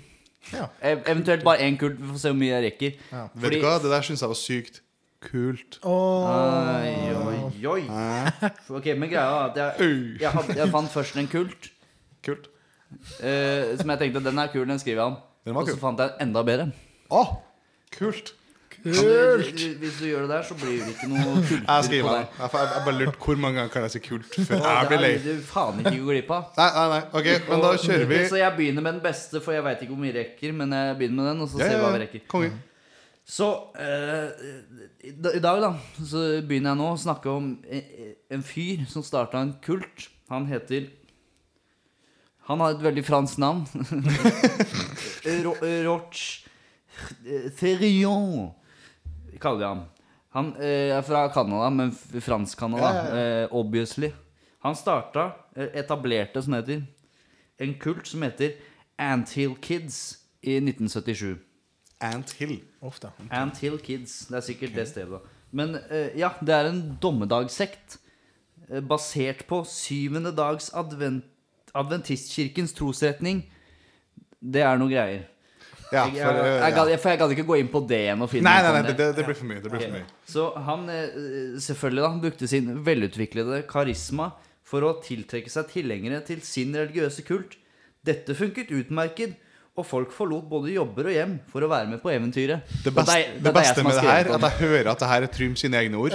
Speaker 2: Ja.
Speaker 3: Ev eventuelt bare én kult. Vi får se hvor mye jeg rekker.
Speaker 2: Ja.
Speaker 1: Vet du hva, det der syns jeg var sykt kult.
Speaker 2: Og
Speaker 3: Oi, oi, oi. Ok, men greia var at jeg,
Speaker 1: Au.
Speaker 3: jeg, hadde, jeg fant først en kult
Speaker 1: Kult.
Speaker 3: eh, som jeg tenkte den er kul, den skriver jeg om.
Speaker 1: Den var
Speaker 3: Og så
Speaker 1: kul.
Speaker 3: fant jeg en enda bedre.
Speaker 1: Å, kult.
Speaker 3: Kult! Hvis du gjør det der, så blir det ikke noe kultur
Speaker 1: Jeg skriver
Speaker 3: på
Speaker 1: den.
Speaker 3: deg.
Speaker 1: Jeg, jeg, jeg bare lurte hvor mange ganger kan jeg si kult før
Speaker 3: Og
Speaker 1: jeg
Speaker 3: det
Speaker 1: blir lei.
Speaker 3: er du faen ikke går glipp av.
Speaker 1: Nei, nei, nei. Ok, men da kjører vi.
Speaker 3: Så jeg begynner med den beste, for jeg veit ikke hvor mye jeg rekker. Men jeg begynner med den, og så
Speaker 1: Ja,
Speaker 3: ser
Speaker 1: ja,
Speaker 3: vi hva vi
Speaker 1: ja.
Speaker 3: rekker.
Speaker 1: Konge.
Speaker 3: Så eh, i da- i dag, da, så begynner jeg nå å snakke om eh, en fyr som starta en kult. Han heter Han har et veldig fransk navn. Ro- Roch eh, Therion kaller vi ham. Han eh, er fra Canada, men f- fransk Canada,
Speaker 1: Ja, ja,
Speaker 3: eh, obviously. Han starta, eh, etablerte, som det heter, en kult som heter Anthill Kids i 1977.
Speaker 1: Ant Hill.
Speaker 2: Uff da.
Speaker 3: Ant Hill Kids. Det er sikkert det stedet. Men eh, ja, det er en dommedagssekt eh, basert på syvende dags advent, adventistkirkens trosretning. Det er noe greier.
Speaker 1: Ja,
Speaker 3: Jeg,
Speaker 1: for,
Speaker 3: jeg, jeg,
Speaker 1: eh, ja.
Speaker 3: gadd- jeg, for jeg gadd ikke gå inn på det igjen og finne
Speaker 1: Nei,
Speaker 3: ut om
Speaker 1: nei, nei,
Speaker 3: det.
Speaker 1: det, det blir for mye. Det blir for mye.
Speaker 3: Så han eh, selvfølgelig da, han brukte sin velutviklede karisma for å tiltrekke seg tilhengere til sin religiøse kult. Dette funket utmerket, og folk forlot både jobber og hjem for å være med på eventyret.
Speaker 1: Det
Speaker 3: Dette er-
Speaker 1: beste,
Speaker 3: dette
Speaker 1: det
Speaker 3: er jeg
Speaker 1: beste
Speaker 3: som har
Speaker 1: med det
Speaker 3: skrevet
Speaker 1: her,
Speaker 3: om
Speaker 1: at jeg hører at det her er Trym sine egne ord.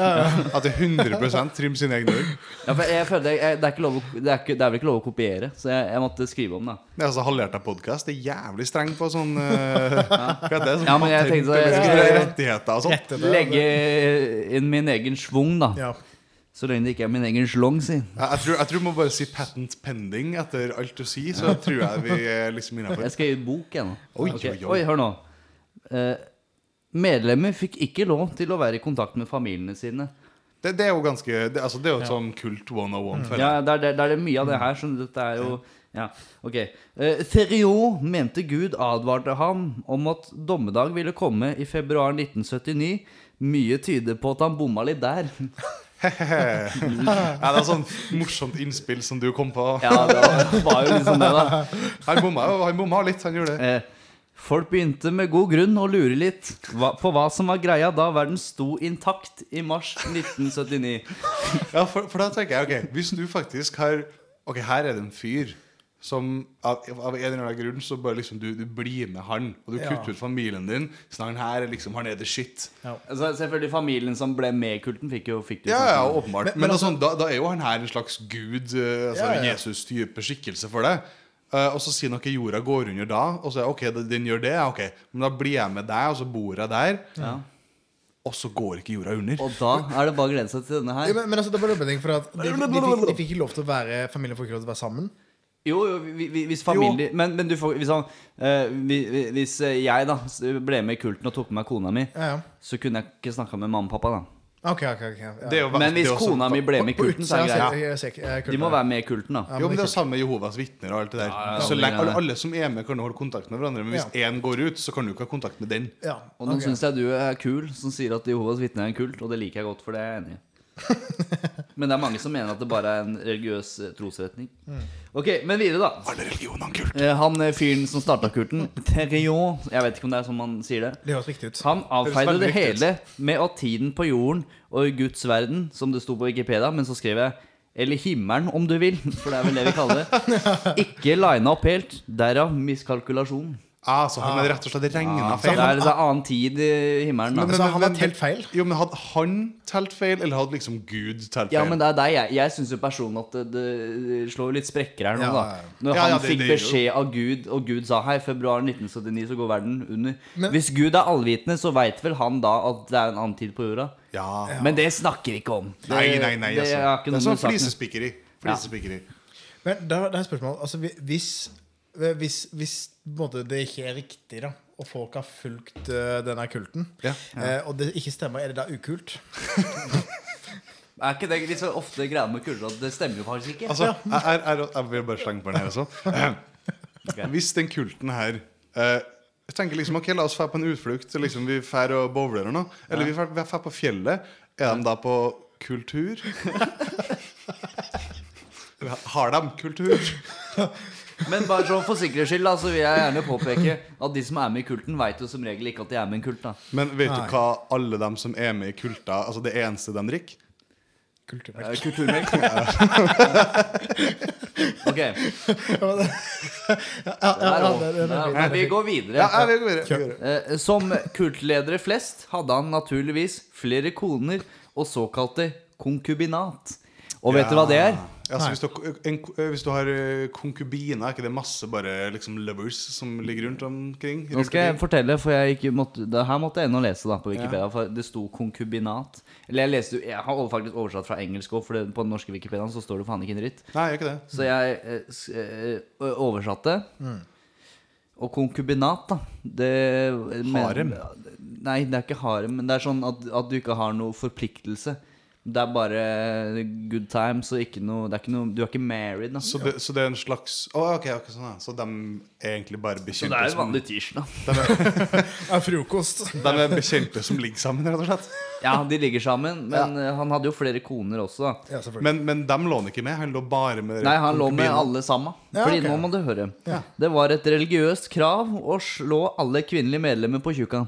Speaker 1: At det er 100 Trym sine egne ord.
Speaker 3: Ja, for jeg følte jeg, jeg, det, er ikke lov, å- det, er ikke, det er vel ikke lov å kopiere, så jeg, jeg måtte skrive om det.
Speaker 1: Det er altså halvhjerta podkast. Det er jævlig streng på sånn eh, Hva heter det? Sånn
Speaker 3: Ja, men jeg
Speaker 1: patent-
Speaker 3: tenkte at jeg skulle-
Speaker 1: rettigheter og sånt.
Speaker 2: Dette der,
Speaker 3: Legge inn min egen schwung, da.
Speaker 2: Ja.
Speaker 3: Så lenge det ikke er min egen slong, si.
Speaker 1: Jeg, jeg, tror, jeg tror vi må bare si 'patent pending' etter alt du sier, så tror jeg vi er liksom innafor.
Speaker 3: Jeg skal gi bok, jeg nå.
Speaker 1: Oi,
Speaker 3: Ok,
Speaker 1: oi, oi.
Speaker 3: oi, hør nå. Eh, medlemmer fikk ikke lov til å være i kontakt med familiene sine.
Speaker 1: Det, det er jo ganske Det, altså, det er jo et sånn kult 101, føler jeg.
Speaker 3: Ja, det er, det er- det er det mye av det her, så dette er jo Ja, ok. Eh, Theriot mente Gud advarte ham om at dommedag ville komme i februar 1979. Mye tyder på at han bomma litt der.
Speaker 1: Ja, det er sånn morsomt innspill som du kom på.
Speaker 3: Ja, det var, var jo liksom det, da.
Speaker 1: Han bomma jo han bomma litt, han gjorde det.
Speaker 3: Eh, Folk begynte med god grunn å lure litt hva, på hva som var greia da verden sto intakt i mars 1979.
Speaker 1: Ja, for, for da tenker jeg, ok, hvis du faktisk har Ok, her er det en fyr som av, av en eller annen grunn så bare liksom du, du blir med han, og du
Speaker 2: Ja.
Speaker 1: kutter ut familien din, så han her er liksom, han er the shit.
Speaker 3: Altså, selvfølgelig Familien som ble med i kulten, fikk jo fikk det
Speaker 1: Ja,
Speaker 3: jo
Speaker 1: ja,
Speaker 3: sånn.
Speaker 1: åpenbart. Men,
Speaker 2: men
Speaker 1: altså, da, da er jo han her en slags gud, eh, altså
Speaker 2: Ja, ja.
Speaker 1: en Jesus-type skikkelse for deg. Eh, og så sier noe jorda går under da, og så er det, ok, den- den gjør det, ja, ok. Men da blir jeg med deg, og så bor jeg der,
Speaker 3: Ja.
Speaker 1: og så går ikke jorda under.
Speaker 3: Og da er det bare å glede seg til denne
Speaker 2: Ja,
Speaker 3: her.
Speaker 2: men, men altså, det var løpeting for at de, de, fikk, de fikk ikke lov til å være familien får ikke lov til å være sammen.
Speaker 3: Jo, jo, vi- vi- hvis familie Men, men du får Hvis, han, eh, vi- vi- hvis eh, jeg da s- ble med i kulten og tok med meg kona mi,
Speaker 2: Ja, ja.
Speaker 3: så kunne jeg ikke snakka med mamma og pappa, da.
Speaker 2: Ok, ok, ok. Ja.
Speaker 1: Det er jo
Speaker 3: Men
Speaker 1: vanskelig
Speaker 3: hvis
Speaker 1: også-
Speaker 3: kona mi ble med i
Speaker 2: På
Speaker 3: kulten, så er det
Speaker 2: utsida
Speaker 3: greit.
Speaker 2: ser- jeg ser ikke- jeg er kult
Speaker 3: De må
Speaker 2: med.
Speaker 3: være med i kulten, da.
Speaker 2: Ja,
Speaker 1: Jo, men det er
Speaker 2: det
Speaker 1: jo samme med Jehovas vitner og alt det der.
Speaker 3: ja,
Speaker 1: så
Speaker 3: det
Speaker 1: lenge,
Speaker 3: er det.
Speaker 1: alle, alle som er med, kan holde kontakt med hverandre. Men hvis én går ut, så kan du ikke ha kontakt med den.
Speaker 2: ja.
Speaker 3: Og nå
Speaker 2: ok.
Speaker 3: synes syns jeg du er kul som sier at Jehovas vitner er en kult, og det liker jeg godt, for det er jeg enig i. Men det er mange som mener at det bare er en religiøs eh, trosretning.
Speaker 2: Mm.
Speaker 3: Ok, men videre, da.
Speaker 1: Alle religioner har en kult.
Speaker 3: Eh, Han eh, fyren som starta kulten, Terrion Jeg vet ikke om det er sånn man sier det.
Speaker 2: Det høres riktig ut.
Speaker 3: Han avfeide
Speaker 1: veldig
Speaker 3: det
Speaker 1: riktig ut.
Speaker 3: hele med at tiden på jorden og i Guds verden, som det sto på Wikipedia, men så skrev jeg eller himmelen, om du vil, for det er vel det vi kaller det. Ikke lina opp helt. Derav miskalkulasjon.
Speaker 1: Ah, så han hadde rett og slett regna
Speaker 3: Så
Speaker 1: feil.
Speaker 3: det er, det er annen tid i himmelen. Da.
Speaker 2: Men- så han har telt feil?
Speaker 1: Jo, men Hadde han telt feil, eller hadde liksom Gud telt feil?
Speaker 3: Ja, men det er deg. Jeg, jeg syns jo personlig at det, det slår jo litt sprekker her nå,
Speaker 2: Ja,
Speaker 3: da.
Speaker 2: ja, ja.
Speaker 3: Når
Speaker 1: Ja,
Speaker 3: han
Speaker 1: ja, det-
Speaker 3: fikk
Speaker 1: det gjør
Speaker 3: beskjed av Gud, og Gud sa hei, februar 1979 så går verden under.
Speaker 2: Men-
Speaker 3: Hvis Gud er allvitende, så veit vel han da at det er en annen tid på jorda?
Speaker 1: ja.
Speaker 3: Men det snakker vi ikke om. Det,
Speaker 1: Nei, nei, nei.
Speaker 3: Det,
Speaker 1: Altså.
Speaker 3: har ikke
Speaker 1: Det er
Speaker 3: noe
Speaker 1: sånn
Speaker 3: med saken.
Speaker 1: flisespikkeri. Flisespikkeri.
Speaker 2: Men der, der er spørsmålet altså, hvi- hvis, hvis, hvis på en måte, det ikke er riktig, da, og folk har fulgt eh, denne kulten,
Speaker 1: Ja.
Speaker 2: eh, og det ikke stemmer, er det da ukult?
Speaker 3: Er ikke det litt så ofte greia med kulder at det stemmer jo faktisk ikke?
Speaker 1: Altså, jeg, jeg, jeg, jeg vil bare slenge på den her også. Hvis den kulten her eh, Jeg tenker liksom, ok, La oss dra på en utflukt. Liksom, vi drar og bowler eller noe. Eller vi drar- vi drar på fjellet. Er de da på kultur? Har de kultur? Altså-
Speaker 3: Men bare sånn for sikkerhets skyld da, så vil jeg gjerne påpeke at de som er med i kulten, veit jo som regel ikke at de er med i en kult. da
Speaker 1: Men vet
Speaker 2: Nei.
Speaker 1: du hva alle dem som er med i kulta Altså det eneste de drikker?
Speaker 2: Kulturmelk.
Speaker 3: Eh, Kulturmelk. Ok,
Speaker 2: ja, ja,
Speaker 3: det
Speaker 2: ja,
Speaker 3: er
Speaker 2: ja,
Speaker 3: lov.
Speaker 2: det, det, det, det,
Speaker 3: Nei, men Vi går videre.
Speaker 1: Ja, ja, vi går videre, vi går videre.
Speaker 3: Eh, Som kultledere flest hadde han naturligvis flere koner og såkalte konkubinat. Og vet du hva det er?
Speaker 1: Ja, så hvis, du, har- en, hvis du har eh, konkubiner, er ikke det masse bare liksom lovers som ligger rundt omkring?
Speaker 3: Nå skal jeg fortelle, for jeg gikk, måtte, det her måtte jeg inn og lese da, på Wikipedia. For det sto konkubinat. Eller jeg leste Jeg har faktisk oversatt fra engelsk òg, for det, på den norske Wikipediaen så står det faen ikke en dritt.
Speaker 1: Nei, gjør ikke det.
Speaker 3: Så jeg eh, s- eh, ø- oversatte. Og konkubinat, da det, eh, men-
Speaker 1: Harem.
Speaker 3: Nei, det er ikke harem. Men det er sånn at, at du ikke har noe forpliktelse. Det er bare good times og ikke noe, det er ikke noe Du er ikke married, da.
Speaker 1: Så det, så det er en slags Å, ok, ok, sånn ja. Så de er egentlig bare
Speaker 3: Så
Speaker 1: bekjente
Speaker 3: det er jo
Speaker 1: som,
Speaker 3: vanlig tirsdag.
Speaker 2: ja, frokost.
Speaker 1: de er bekjente som ligger sammen, rett og slett.
Speaker 3: Ja, de ligger sammen, men eh, han hadde jo flere koner også, da.
Speaker 2: Ja, selvfølgelig.
Speaker 1: Men, men dem lå han ikke med. Han lå bare med
Speaker 3: Nei, han lå med alle sammen.
Speaker 2: Ja,
Speaker 3: Fordi
Speaker 2: ok.
Speaker 3: nå må du høre. Det var et religiøst krav å slå alle kvinnelige medlemmer på tjukka.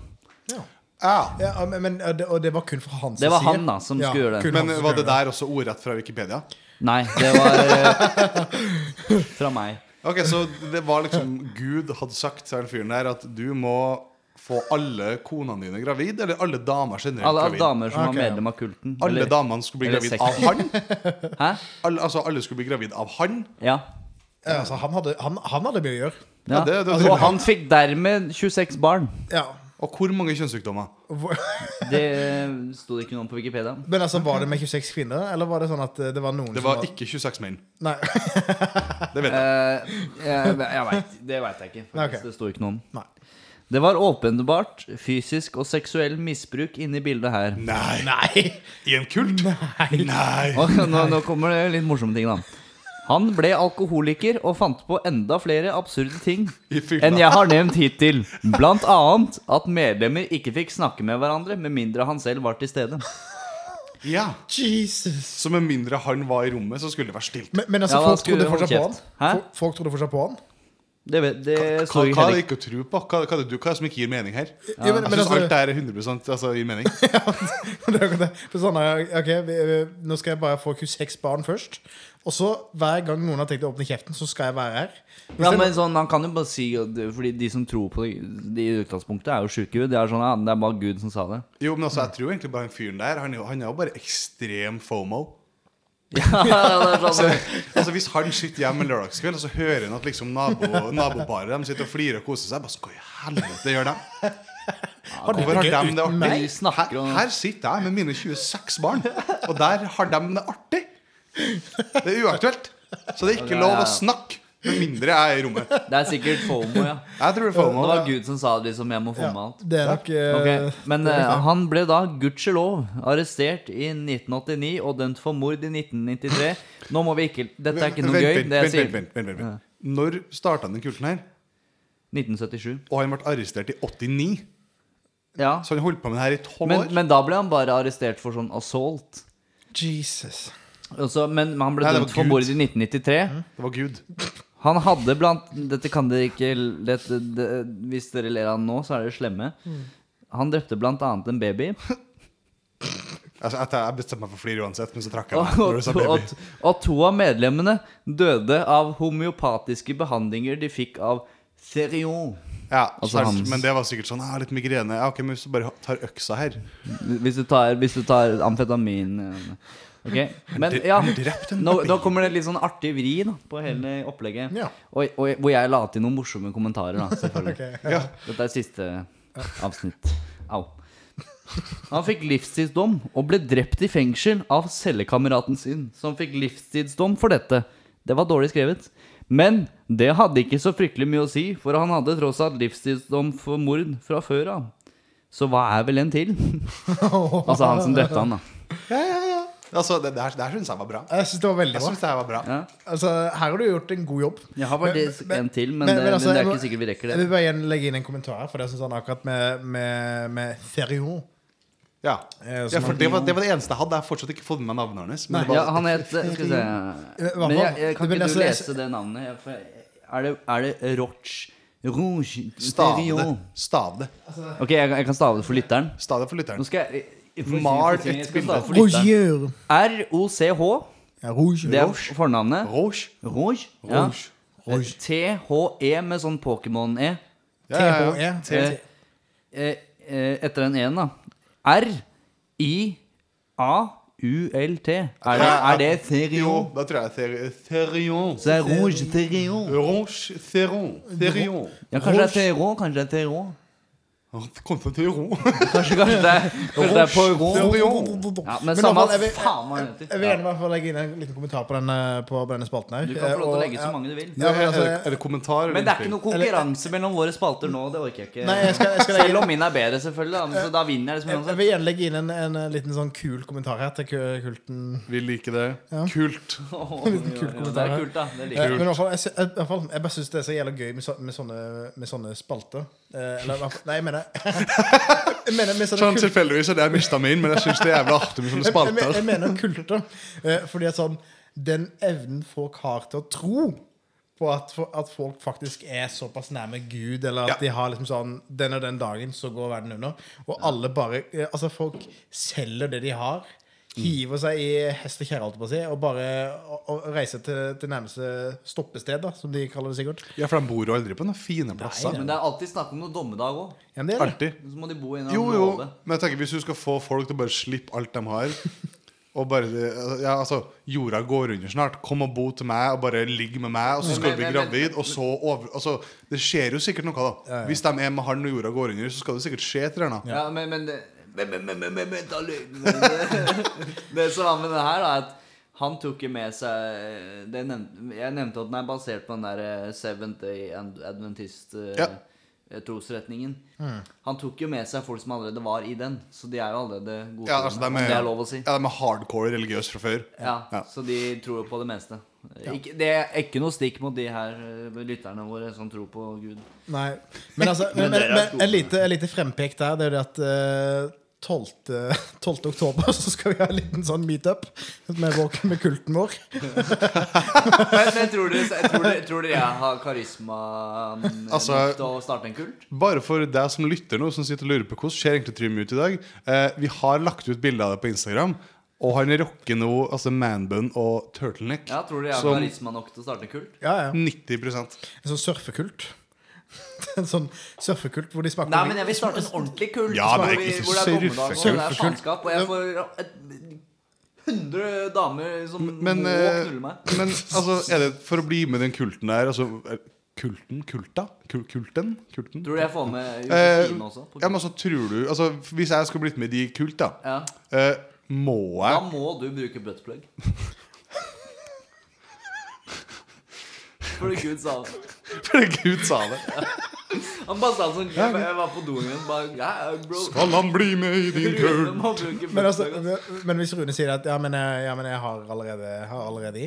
Speaker 2: Ja.
Speaker 1: Ja.
Speaker 2: Ja, men, men, og det- og det var kun fra hans
Speaker 3: Det var
Speaker 2: side.
Speaker 3: han, da, som skulle gjøre det.
Speaker 2: kun han
Speaker 1: Men
Speaker 2: som
Speaker 1: var
Speaker 2: skulle
Speaker 1: det
Speaker 2: gjøre
Speaker 1: der også ordrett fra Wikipedia?
Speaker 3: Nei, det var eh, fra meg.
Speaker 1: Ok, Så det var liksom Gud hadde sagt til den fyren der at du må få alle konene dine gravid, eller alle damer generelt
Speaker 3: Alle
Speaker 1: gravid.
Speaker 3: damer som
Speaker 2: Ok,
Speaker 3: var
Speaker 2: ja.
Speaker 3: medlem av kulten.
Speaker 1: Alle
Speaker 3: eller-
Speaker 1: damene skulle bli
Speaker 3: eller
Speaker 1: gravid
Speaker 3: seks.
Speaker 1: av han.
Speaker 3: Hæ?
Speaker 1: Alle, altså alle skulle bli gravid av han.
Speaker 3: Ja.
Speaker 2: Ja, altså, han, hadde, han, han hadde mye å gjøre.
Speaker 3: ja.
Speaker 1: Ja, det- det-
Speaker 3: og han fikk dermed 26 barn.
Speaker 2: Ja.
Speaker 1: Og hvor mange kjønnssykdommer?
Speaker 2: Hvor-
Speaker 3: Det eh, sto det ikke noe om på Wikipedia.
Speaker 2: Men altså, var det med 26 kvinner, eller var det sånn at eh, det var noen
Speaker 1: Det var ikke 26 menn.
Speaker 2: Nei.
Speaker 1: Det vet jeg.
Speaker 3: Eh, jeg jeg veit Det veit jeg ikke.
Speaker 2: Nei,
Speaker 3: Faktisk,
Speaker 2: ok.
Speaker 3: Det sto ikke noe om.
Speaker 2: Nei.
Speaker 3: Det var åpenbart fysisk og seksuell misbruk inne i bildet her.
Speaker 1: Nei.
Speaker 2: Nei.
Speaker 1: I en kult? Nei.
Speaker 3: Eh, Og nå, nå kommer det litt morsomme ting, da. Han ble alkoholiker og fant på enda flere absurde ting
Speaker 1: I fylla.
Speaker 3: enn jeg har nevnt hittil. Blant annet at medlemmer ikke fikk snakke med hverandre med mindre han selv var til stede.
Speaker 1: Ja.
Speaker 2: Jesus.
Speaker 1: Så med mindre han var i rommet, så skulle det være stilt.
Speaker 2: Men, men altså,
Speaker 3: Ja, da
Speaker 2: folk
Speaker 3: skulle
Speaker 2: trodde
Speaker 3: du
Speaker 2: fortsatt
Speaker 3: holde
Speaker 2: på han.
Speaker 3: kjeft. Hæ?
Speaker 2: Folk, folk trodde fortsatt på han.
Speaker 3: Det, vet- det
Speaker 1: Hva,
Speaker 3: står ikke
Speaker 1: hva er
Speaker 3: heller.
Speaker 1: det ikke å tro på? Hva, hva, er det du, hva er det som ikke gir mening her? Jeg
Speaker 2: Ja, men, men
Speaker 1: syns
Speaker 2: altså,
Speaker 1: alt det her er 100 altså, gir mening.
Speaker 2: det er akkurat det. For sånn, er- ok, vi, vi, nå skal jeg bare få 26 barn først. Og så hver gang noen har tenkt å åpne kjeften, så skal jeg være her. Hvis
Speaker 3: Ja,
Speaker 2: det-
Speaker 3: men sånn, Han kan jo bare si at- Fordi de som tror på det de i utgangspunktet, er jo sjuke. Det er sånn, ja, det er bare Gud som sa det.
Speaker 1: Jo, men altså, jeg tror egentlig bare han fyren der Han, er jo- han er jo bare ekstrem fomo.
Speaker 3: Ja, det er sånn
Speaker 1: Altså Hvis han sitter hjemme en lørdagskveld og så hører han at liksom nabo, naboparet de sitter og flirer og koser seg bare, så, Hva i helvete gjør de? Hvorfor har
Speaker 2: det
Speaker 1: de
Speaker 2: uten
Speaker 1: det artig?
Speaker 3: meg? Vi snakker
Speaker 1: Her,
Speaker 3: om-
Speaker 1: her sitter jeg med mine 26 barn, og der har de det artig. Det er uaktuelt. Så det er ikke
Speaker 3: Ja,
Speaker 1: lov
Speaker 3: ja.
Speaker 1: å snakke med mindre jeg er i rommet.
Speaker 3: Det er sikkert FOMO, ja.
Speaker 1: Jeg tror det er
Speaker 3: Det
Speaker 1: FOMO.
Speaker 3: var Gud som sa det, liksom. Jeg må få med
Speaker 2: ja,
Speaker 3: alt.
Speaker 2: det er nok eh,
Speaker 3: Ok, Men eh, han ble da, gudskjelov, arrestert i 1989 og dømt for mord i 1993. Nå må vi ikke Dette er ikke noe
Speaker 1: Vent,
Speaker 3: gøy.
Speaker 1: vent,
Speaker 3: Det jeg
Speaker 1: vent,
Speaker 3: sier.
Speaker 1: vent, vent, vent, vent. Når starta den kulten her?
Speaker 3: 1977.
Speaker 1: Og han ble arrestert i 89.
Speaker 3: Ja.
Speaker 1: Så han holdt på med det her i tolv
Speaker 3: Men,
Speaker 1: år.
Speaker 3: men da ble han bare arrestert for sånn assault.
Speaker 2: Jesus.
Speaker 3: Altså, men men han ble
Speaker 1: Nei, det
Speaker 3: dømt
Speaker 1: var
Speaker 3: for
Speaker 1: Gud. Mm.
Speaker 3: mord i 1993.
Speaker 1: Det var Gud.
Speaker 3: Han hadde blant Dette kan dere ikke dette, det, Hvis dere ler av han nå, så er dere slemme.
Speaker 1: Mm.
Speaker 3: Han drepte blant annet en baby.
Speaker 1: Altså, jeg- jeg bestemte meg for å flire uansett, men så trakk jeg
Speaker 3: Og,
Speaker 1: meg. Når
Speaker 3: og,
Speaker 1: du sa
Speaker 3: to-
Speaker 1: baby.
Speaker 3: og, og to av medlemmene døde av homeopatiske behandlinger de fikk av Serion.
Speaker 1: Ja,
Speaker 3: Altså,
Speaker 1: sant,
Speaker 3: hans-
Speaker 1: Men det var sikkert sånn ah, Litt migrene. Ja, ok, men hvis du bare tar øksa her
Speaker 3: Hvis du tar, hvis du tar amfetamin eh, Ok, men
Speaker 1: dre-
Speaker 3: ja
Speaker 1: han drepte en
Speaker 3: nå,
Speaker 1: baby.
Speaker 3: Da kommer det litt sånn artig vri da, på hele opplegget.
Speaker 2: Ja.
Speaker 3: Og, og hvor jeg la til noen morsomme kommentarer, da, selvfølgelig.
Speaker 1: Ja.
Speaker 3: Dette er siste avsnitt. Au. Han fikk livstidsdom og ble drept i fengsel av cellekameraten sin, som fikk livstidsdom for dette. Det var dårlig skrevet. Men det hadde ikke så fryktelig mye å si, for han hadde tross alt livstidsdom for mord fra før av. Så hva er vel en til? altså han som drepte han, da.
Speaker 1: Ja, ja, ja. Altså, det, det her, det her syns jeg var bra.
Speaker 2: Jeg syns det var veldig
Speaker 1: Jeg
Speaker 2: bra.
Speaker 1: synes det her var bra
Speaker 3: Ja.
Speaker 2: Altså, her har du gjort en god jobb.
Speaker 3: Jeg har faktisk en til, men, det,
Speaker 2: altså,
Speaker 3: eh, men det
Speaker 2: jeg
Speaker 3: er
Speaker 2: må-
Speaker 3: ikke sikkert vi rekker
Speaker 2: Jeg
Speaker 3: det.
Speaker 2: vil bare igjen legge inn en kommentar her, for det syns han akkurat med, med, med Ferrion.
Speaker 1: Ja,
Speaker 2: Eh,
Speaker 1: ja
Speaker 2: som
Speaker 1: for det var, det var det eneste jeg hadde. Jeg har fortsatt ikke fått med meg navnet hans. Men det var,
Speaker 3: Ja, han het Skal vi se Men jeg, jeg kan
Speaker 2: Men altså,
Speaker 3: ikke du
Speaker 2: jeg-
Speaker 3: lese det navnet? Jeg- for- Er det, er det Roche Rouge
Speaker 1: stav det.
Speaker 3: Terion?
Speaker 1: Stav det.
Speaker 3: Ok, jeg, jeg kan stave det for lytteren.
Speaker 1: Stav det for
Speaker 3: Nå
Speaker 1: lytteren.
Speaker 3: skal jeg jeg får si-
Speaker 1: Mal
Speaker 3: jeg får si- jeg
Speaker 1: et
Speaker 3: skal stave for lytteren.
Speaker 2: Rogier.
Speaker 3: R-O-C-H,
Speaker 2: Ja, Rogier.
Speaker 3: det er fornavnet.
Speaker 1: Roche.
Speaker 3: Rouge. Ja.
Speaker 1: Rouge.
Speaker 2: Rouge.
Speaker 3: T-H-E med sånn Pokémon-E.
Speaker 1: Ja, ja, ja. E.
Speaker 2: THE.
Speaker 3: Eh, eh, eh, Etter den E-en, da. R-I-A-U-L-T. Er det, er det Therion?
Speaker 1: Jo, da tror jeg Therion. Therion.
Speaker 3: Så det er Rouge Therion.
Speaker 1: Roche Therion. Therion.
Speaker 3: Ja, kanskje det er Therion, kanskje det er Therion.
Speaker 1: Å, det Kom fra Therion.
Speaker 3: Kanskje, kanskje det er, kanskje Eh, det er Poirot. Ja, men
Speaker 2: i hvert
Speaker 3: samme
Speaker 2: fall, jeg vil-
Speaker 3: faen hva han
Speaker 2: Jeg vil
Speaker 3: heter.
Speaker 2: gjerne i hvert fall legge inn en liten kommentar på denne, på denne spalten her.
Speaker 3: Du kan få lov til å
Speaker 2: Eh,
Speaker 3: legge
Speaker 2: og-
Speaker 3: så mange du vil.
Speaker 2: Ja, men
Speaker 1: er,
Speaker 2: altså,
Speaker 1: det, er det kommentar?
Speaker 3: Men det er ikke noe konkurranse mellom våre spalter nå. Det orker jeg ikke.
Speaker 2: Nei, jeg skal- jeg skal legge-
Speaker 3: Selv om min er bedre, selvfølgelig. Da, men så da vinner jeg liksom
Speaker 2: Jeg jeg
Speaker 3: uansett.
Speaker 2: vil gjerne legge inn en, en, eh, liten sånn kul kommentar her til ku- kulten.
Speaker 1: Vi liker det. Kult.
Speaker 3: Åh, jo, jo, Det er kult, da.
Speaker 2: Eh,
Speaker 3: Det liker jeg.
Speaker 2: Men i hvert fall, jeg, sy- jeg, i hvert fall, jeg bare syns det er så jævla gøy med, så, med, sånne, med sånne spalter. Eh, eller i hvert fall- Nei, jeg mener Jeg mener med sånne
Speaker 1: Sånn
Speaker 2: kul-
Speaker 1: tilfeldigvis er det jeg mista min, men jeg syns det er jævlig artig med sånne
Speaker 2: jeg, jeg, men-
Speaker 1: spalter.
Speaker 2: jeg mener kulter. Eh, fordi at sånn Den evnen folk har til å tro på at, fo- at folk faktisk er såpass nærme Gud, eller at
Speaker 1: Ja.
Speaker 2: de har liksom sånn Den og den dagen, så går verden under. Og alle bare eh, Altså, folk selger det de har. Hiver seg i hest og kjerre, holdt jeg på å si, og bare og, og reiser til, til nærmeste stoppested, da, som de kaller det sikkert.
Speaker 1: Ja, for de bor jo aldri på noen fine plasser.
Speaker 3: Men det er alltid snakk om noe dommedag òg.
Speaker 2: Ja, men det er det.
Speaker 1: Artig.
Speaker 3: Så må de bo i en
Speaker 1: Jo,
Speaker 3: annen
Speaker 1: jo,
Speaker 3: låve.
Speaker 1: men jeg tenker hvis du skal få folk til å bare slippe alt de har Og bare Ja, altså, jorda går under snart. Kom og bo til meg, og bare ligg med meg, og så skal
Speaker 3: Men-
Speaker 1: du bli
Speaker 3: men- men-
Speaker 1: gravid, og så over Altså, det skjer jo sikkert noe, da. Hvis de er med han og jorda går under, så skal det sikkert skje et eller annet.
Speaker 3: Ja, men, men, det- men, men, men, men, men, men, da løgn. Det- Det som var med det her, da, er at han tok jo med seg det nevnte, Jeg nevnte at den er basert på den der eh, Seventh Day Ad- Adventist eh,
Speaker 1: Ja. Mm.
Speaker 3: eh, trosretningen. Han tok jo med seg folk som allerede var i den, så de er jo allerede gode.
Speaker 1: Ja, altså, de
Speaker 3: om
Speaker 1: er,
Speaker 3: det er lov å si.
Speaker 1: Ja, de er hardcore religiøse fra før.
Speaker 3: Ja,
Speaker 1: Ja.
Speaker 3: Så de tror jo på det meste. Ikke, det er ikke noe stikk mot de her eh, lytterne våre som tror på Gud.
Speaker 2: Nei. Men altså, men, men, men, et lite, et lite frempek der, det er jo det at eh, 12. 12. oktober så skal vi ha en liten sånn meetup med, vår- med kulten vår.
Speaker 3: Men, men tror dere jeg, tror dere, tror dere jeg har karisma mm,
Speaker 1: Altså-
Speaker 3: nok til å starte en kult?
Speaker 1: Bare for deg som lytter nå, som sitter og lurer på hvordan ser egentlig Trym ut i dag. Eh, vi har lagt ut bilde av det på Instagram, og han rocker nå altså manbun og turtleneck.
Speaker 3: Ja, tror dere jeg har
Speaker 1: Som-
Speaker 3: karisma nok til å starte en kult?
Speaker 2: Ja, ja.
Speaker 1: 90
Speaker 2: En sånn surfekult. En sånn surfekult hvor de smaker
Speaker 3: Nei, men jeg vil starte en ordentlig kult
Speaker 1: Ja,
Speaker 3: hvor,
Speaker 1: nei,
Speaker 3: vi,
Speaker 1: ikke
Speaker 3: hvor det er
Speaker 1: surfe-
Speaker 3: dommedag og det er
Speaker 2: surfekult.
Speaker 3: faenskap, og jeg får et, 100 damer som
Speaker 1: Men,
Speaker 3: må
Speaker 1: eh,
Speaker 3: knulle meg.
Speaker 1: men altså, er det for å bli med den kulten der altså, er- Kulten? Kulta? Kul kulten? kulten?
Speaker 3: Tror du jeg får med
Speaker 1: Eh,
Speaker 3: Josefine også? På
Speaker 1: ja,
Speaker 3: kult?
Speaker 1: men altså, tror du altså, Hvis jeg skulle blitt med de i kult, da,
Speaker 3: Ja.
Speaker 1: eh, må
Speaker 3: Da
Speaker 1: jeg
Speaker 3: må du bruke buttplug. For gud sa det.
Speaker 1: For Gud sa det.
Speaker 3: Han bare sa sånn Jeg var på doen min bare Ja, bro.
Speaker 1: Skal han bli med i din
Speaker 3: Rune
Speaker 1: kult?
Speaker 3: må bruke
Speaker 2: Men, altså,
Speaker 3: buttplug.
Speaker 2: men hvis Rune sier at ja, men, jeg- ja, men jeg har allerede, har allerede i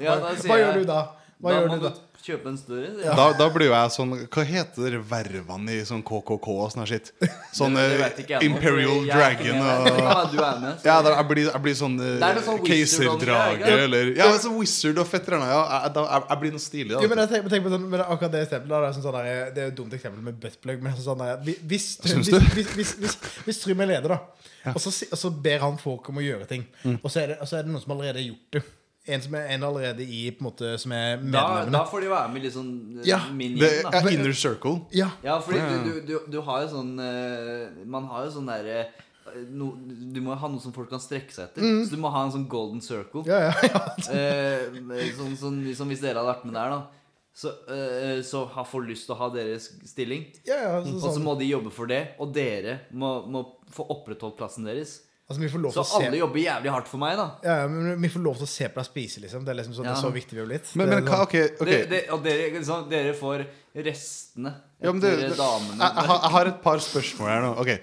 Speaker 3: Ja, da
Speaker 2: Hva
Speaker 3: sier jeg-
Speaker 2: gjør du da? Hva
Speaker 3: Da
Speaker 2: gjør
Speaker 3: må
Speaker 2: du da?
Speaker 3: du kjøpe en større. sier jeg.
Speaker 1: Da, da blir jo jeg sånn Hva heter dere vervene i sånn KKK og sånn her shit? Sånn
Speaker 3: Det
Speaker 1: eh,
Speaker 3: vet ikke jeg nå,
Speaker 1: Imperial
Speaker 3: for jeg er ikke
Speaker 1: Dragon
Speaker 3: med.
Speaker 1: og
Speaker 3: Ja, du er med.
Speaker 1: ja, da, jeg, blir, jeg blir sånn eh,
Speaker 3: Det er noe sånn wizard og sånn,
Speaker 1: keiserdrage
Speaker 3: ja.
Speaker 1: eller Ja, sånn wizard og fetter'n. Ja, jeg, da- jeg, jeg blir noe stilig. Da.
Speaker 2: Jo, men jeg tenker, tenker på sånn, men akkurat Det eksempelet da, det er, sånn, sånn der, det er jo et dumt eksempel med buttplug. Men sånn der, hvis, hvis,
Speaker 1: Syns
Speaker 2: hvis,
Speaker 1: du?
Speaker 2: hvis, hvis, hvis, hvis Trym er leder, da, og, så, si- og så ber han folk om å gjøre ting,
Speaker 1: Mm.
Speaker 2: og, så er det, og så er det noen som allerede har gjort det. En som er en allerede i på en måte, Som er
Speaker 3: Da, da
Speaker 2: medlemmene.
Speaker 3: får de være med i litt sånn eh,
Speaker 2: Ja,
Speaker 3: min
Speaker 1: det
Speaker 3: gjeng, da.
Speaker 1: er inner circle.
Speaker 2: Ja,
Speaker 3: Ja, fordi
Speaker 1: Ja.
Speaker 3: du, du, du, du har jo sånn eh, Man har jo sånn derre eh, no, Du må ha noe som folk kan strekke seg etter.
Speaker 1: Mm.
Speaker 3: Så du må ha en sånn golden circle.
Speaker 2: ja, ja, ja.
Speaker 3: Eh, sånn, sånn, liksom hvis dere hadde vært med der, da. Så, eh, så har folk lyst til å ha deres stilling.
Speaker 2: ja, ja så,
Speaker 3: Og så
Speaker 2: sånn.
Speaker 3: må de jobbe for det. Og dere må, må få opprettholdt plassen deres.
Speaker 2: Altså, vi får lov
Speaker 3: Så
Speaker 2: til å se
Speaker 3: alle jobber jævlig hardt for meg, da.
Speaker 2: ja, ja, men vi får lov til å se på deg spise, liksom. Det er liksom sånn, det er
Speaker 3: Ja.
Speaker 2: så viktig vi har blitt.
Speaker 1: Men,
Speaker 2: Det er
Speaker 1: men hva,
Speaker 2: sånn-
Speaker 1: ok, ok
Speaker 3: Dere, dere, og dere, liksom, dere får restene etter
Speaker 1: ja, men det, det, jeg,
Speaker 3: damene.
Speaker 1: jeg, har- jeg har et par spørsmål her nå. Ok,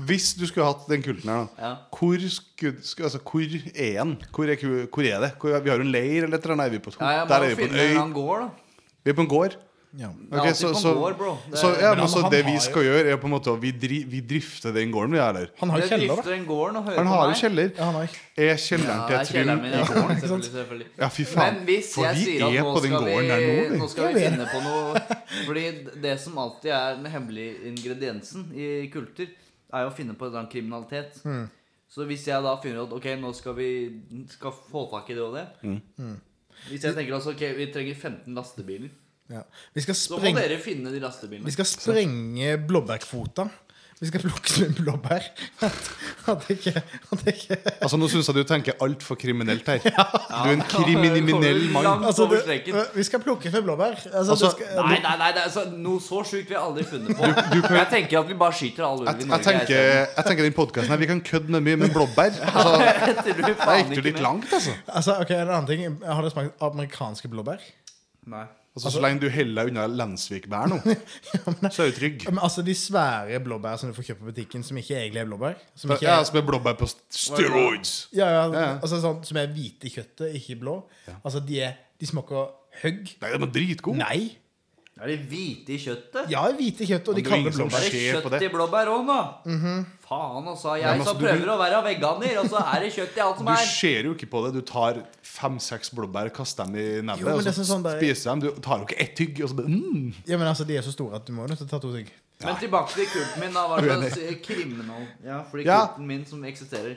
Speaker 1: Hvis du skulle hatt den kulten her, da.
Speaker 3: Ja.
Speaker 1: Hvor, skulle, skulle, altså, hvor er den? Hvor er, ku- hvor er det? Hvor, vi har jo en leir eller et eller annet. Er vi på et,
Speaker 3: Ja, jeg må
Speaker 1: der er vi på en
Speaker 3: finne en
Speaker 1: øy.
Speaker 3: han går, da.
Speaker 1: Vi er på en gård.
Speaker 2: sånn- ja.
Speaker 3: Det er
Speaker 1: Ok,
Speaker 3: alltid
Speaker 1: så,
Speaker 3: på en
Speaker 1: så,
Speaker 3: gård, bro. Det-
Speaker 1: så, ja,
Speaker 2: Men
Speaker 1: men,
Speaker 2: han-
Speaker 1: så
Speaker 2: han
Speaker 1: det
Speaker 2: har
Speaker 1: vi
Speaker 2: jo-
Speaker 1: skal gjøre, er på en måte å vi, dri, vi drifter den gården vi er der.
Speaker 2: Han har jo
Speaker 3: Dere
Speaker 2: kjeller, da.
Speaker 3: drifter den gården og hører
Speaker 1: Han
Speaker 3: på
Speaker 1: har
Speaker 3: meg.
Speaker 1: jo kjeller.
Speaker 2: Ja, han har ikke.
Speaker 1: Er kjelleren
Speaker 3: Ja, det er
Speaker 1: til Trym
Speaker 3: kjelleren min. Ja, selvfølgelig, selvfølgelig.
Speaker 1: Ja, fy faen.
Speaker 3: Men hvis
Speaker 1: For
Speaker 3: jeg
Speaker 1: vi
Speaker 3: sier at
Speaker 1: er
Speaker 3: nå
Speaker 1: på den
Speaker 3: skal,
Speaker 1: gården der nå,
Speaker 3: vi,
Speaker 1: vi.
Speaker 3: nå skal vi
Speaker 2: Ja, vi er.
Speaker 3: finne på noe Fordi det som alltid er den hemmelige ingrediensen i kulter, er jo å finne på en eller annen kriminalitet. Så hvis jeg da finner ut Ok, nå skal vi skal få tak i det og det
Speaker 1: Mm.
Speaker 3: Hvis jeg tenker altså, ok, vi trenger 15 lastebiler,
Speaker 2: Ja. Vi skal
Speaker 3: så må
Speaker 2: sprenge
Speaker 3: dere finne de lastebilene.
Speaker 2: Vi skal sprenge blåbærkvota. Vi skal plukke så mye blåbær at, at, ikke, at ikke
Speaker 1: Altså, nå syns jeg du tenker altfor kriminelt her. Du er en kriminell
Speaker 3: Ja,
Speaker 1: mann.
Speaker 2: altså,
Speaker 3: Over streken.
Speaker 2: Vi skal plukke fem blåbær. Altså,
Speaker 1: Altså,
Speaker 2: det skal,
Speaker 3: Nei, nei, nei, det er så, noe så sjukt vi har aldri funnet på. Jeg tenker at vi bare skyter all ulv
Speaker 1: Jeg,
Speaker 3: i
Speaker 1: jeg,
Speaker 3: Norge.
Speaker 1: tenker, jeg tenker den podkasten her Vi kan kødde med mye, men blåbær altså,
Speaker 3: Etter du
Speaker 1: Da
Speaker 3: faen
Speaker 1: gikk du
Speaker 3: ikke
Speaker 1: litt
Speaker 3: med.
Speaker 1: langt, altså.
Speaker 2: altså, ok, en annen ting Har dere smakt amerikanske blåbær?
Speaker 3: Nei.
Speaker 1: altså så lenge du heller deg unna Lensvikbær nå, så er du trygg.
Speaker 2: Men, altså De svære blåbær som du får kjøpt på butikken, som ikke egentlig er blåbær? Som, ikke
Speaker 1: Ja,
Speaker 2: er,
Speaker 1: Som er blåbær på steroids.
Speaker 2: ja, ja,
Speaker 1: ja.
Speaker 2: altså, sånn, som er hvite i kjøttet, ikke blå. Altså De, er, de smaker høgg.
Speaker 1: Nei, de er dritgode.
Speaker 2: Nei.
Speaker 3: Er det hvite i kjøttet?
Speaker 2: Ja, hvite i kjøttet, og de
Speaker 1: Men det er
Speaker 2: kaller det
Speaker 1: ingen som
Speaker 2: blåbær.
Speaker 3: Er det
Speaker 1: skjer på
Speaker 3: kjøtt
Speaker 1: det. Mhm.
Speaker 3: i blåbær òg, nå? Faen, altså. Jeg
Speaker 1: Ja, men altså,
Speaker 3: som
Speaker 1: du-
Speaker 3: prøver å være veganer, og så er det kjøtt i alt som
Speaker 1: Du
Speaker 3: er.
Speaker 1: ser jo ikke på det. Du tar fem-seks blåbær, kaster dem i
Speaker 2: Jo,
Speaker 1: nebbet,
Speaker 2: men
Speaker 1: og
Speaker 2: det er
Speaker 1: så
Speaker 2: sånn bare-
Speaker 1: spiser dem. Du tar jo ikke ett tygg, og så bare mm.
Speaker 2: Ja, men altså, De er så store at du må jo nødt til å ta to stykk.
Speaker 3: Men tilbake til kulten min, da. Hva slags kriminal Ja, fordi
Speaker 1: Ja.
Speaker 3: kulten min som eksisterer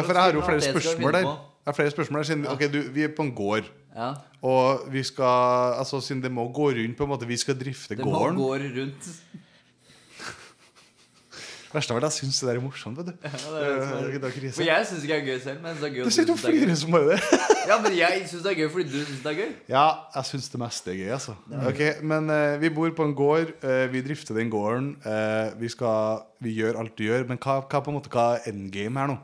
Speaker 1: Ja, for
Speaker 3: slags
Speaker 1: jeg har jo flere
Speaker 3: kriminalitet skal vi
Speaker 1: spørsmål
Speaker 3: finne
Speaker 1: der.
Speaker 3: på?
Speaker 1: Jeg har flere spørsmål der siden, Ok, du, Vi er på en gård,
Speaker 3: Ja.
Speaker 1: og vi skal Altså, siden det må gå rundt, på en måte. Vi skal drifte
Speaker 3: Det må
Speaker 1: gården.
Speaker 3: gå rundt.
Speaker 1: Det verste av alt, jeg syns det der er morsomt, vet du.
Speaker 3: det er det som er-
Speaker 1: Det er- det er
Speaker 3: For
Speaker 1: krise.
Speaker 3: jeg syns ikke det er gøy selv. Men jeg synes det er gøy
Speaker 1: Du
Speaker 3: at
Speaker 1: sitter og
Speaker 3: synes det er gøy.
Speaker 1: flirer som bare det.
Speaker 3: Ja, men jeg syns det er gøy fordi du syns det er gøy.
Speaker 1: Ja, jeg syns det meste er gøy, altså. Ok, Men eh, vi bor på en gård. eh, vi drifter den gården. eh, vi, skal, vi gjør alt du gjør. Men hva, hva på en måte hva er endgame her nå?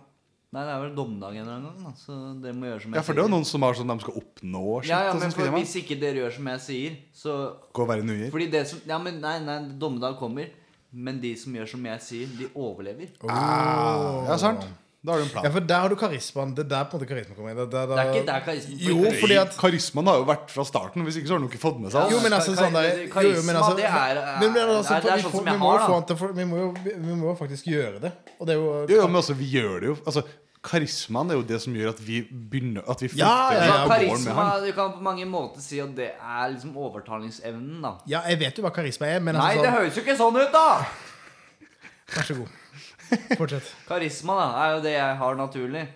Speaker 3: Nei, det er vel dommedag en eller annen gang, da, så dere må gjøre som jeg
Speaker 1: Ja, for det er jo noen som har sånn de skal oppnå shit.
Speaker 3: ja, ja,
Speaker 1: og
Speaker 3: men
Speaker 1: sånn skal
Speaker 3: for,
Speaker 1: de ha.
Speaker 3: hvis ikke dere gjør som jeg sier, så
Speaker 1: Gå og være nuier.
Speaker 3: Fordi det som Ja, men nei, nei, dommedag kommer. Men de som gjør som jeg sier, de overlever.
Speaker 1: Ah, ja, sant? Da har du en plan.
Speaker 2: Ja, for der har du karismaen. Det er der på en måte karisma kommer inn. Det, det,
Speaker 3: Det er ikke der karismen
Speaker 2: Jo, fordi at
Speaker 1: Karismaen har jo vært fra starten, hvis ikke så har han jo ikke fått med seg alt.
Speaker 2: jo, men altså
Speaker 3: Kar-
Speaker 2: sånn der,
Speaker 3: karisma,
Speaker 2: jo, jo, men altså,
Speaker 3: det er-
Speaker 2: men, men, altså,
Speaker 3: det er- det er
Speaker 2: vi
Speaker 3: sånn
Speaker 2: får-
Speaker 3: som jeg
Speaker 2: vi må jo
Speaker 3: har, da.
Speaker 2: få han til å få- Vi må jo vi må jo faktisk gjøre det. Og det er jo
Speaker 1: Jo, jo, men altså, vi gjør det jo. Altså, karismaen er jo det som gjør at vi begynner At vi flytter
Speaker 2: Ja, ja, ja.
Speaker 1: og går med
Speaker 3: Altså, Karisma
Speaker 1: han.
Speaker 3: Du kan på mange måter si at det er liksom overtalingsevnen, da.
Speaker 2: Ja, jeg vet jo hva karisma er, men
Speaker 3: Nei,
Speaker 2: altså,
Speaker 3: det
Speaker 2: sånn,
Speaker 3: høres jo ikke sånn ut, da!
Speaker 2: vær så god. Fortsett.
Speaker 3: Karisma da, er jo det jeg har naturlig.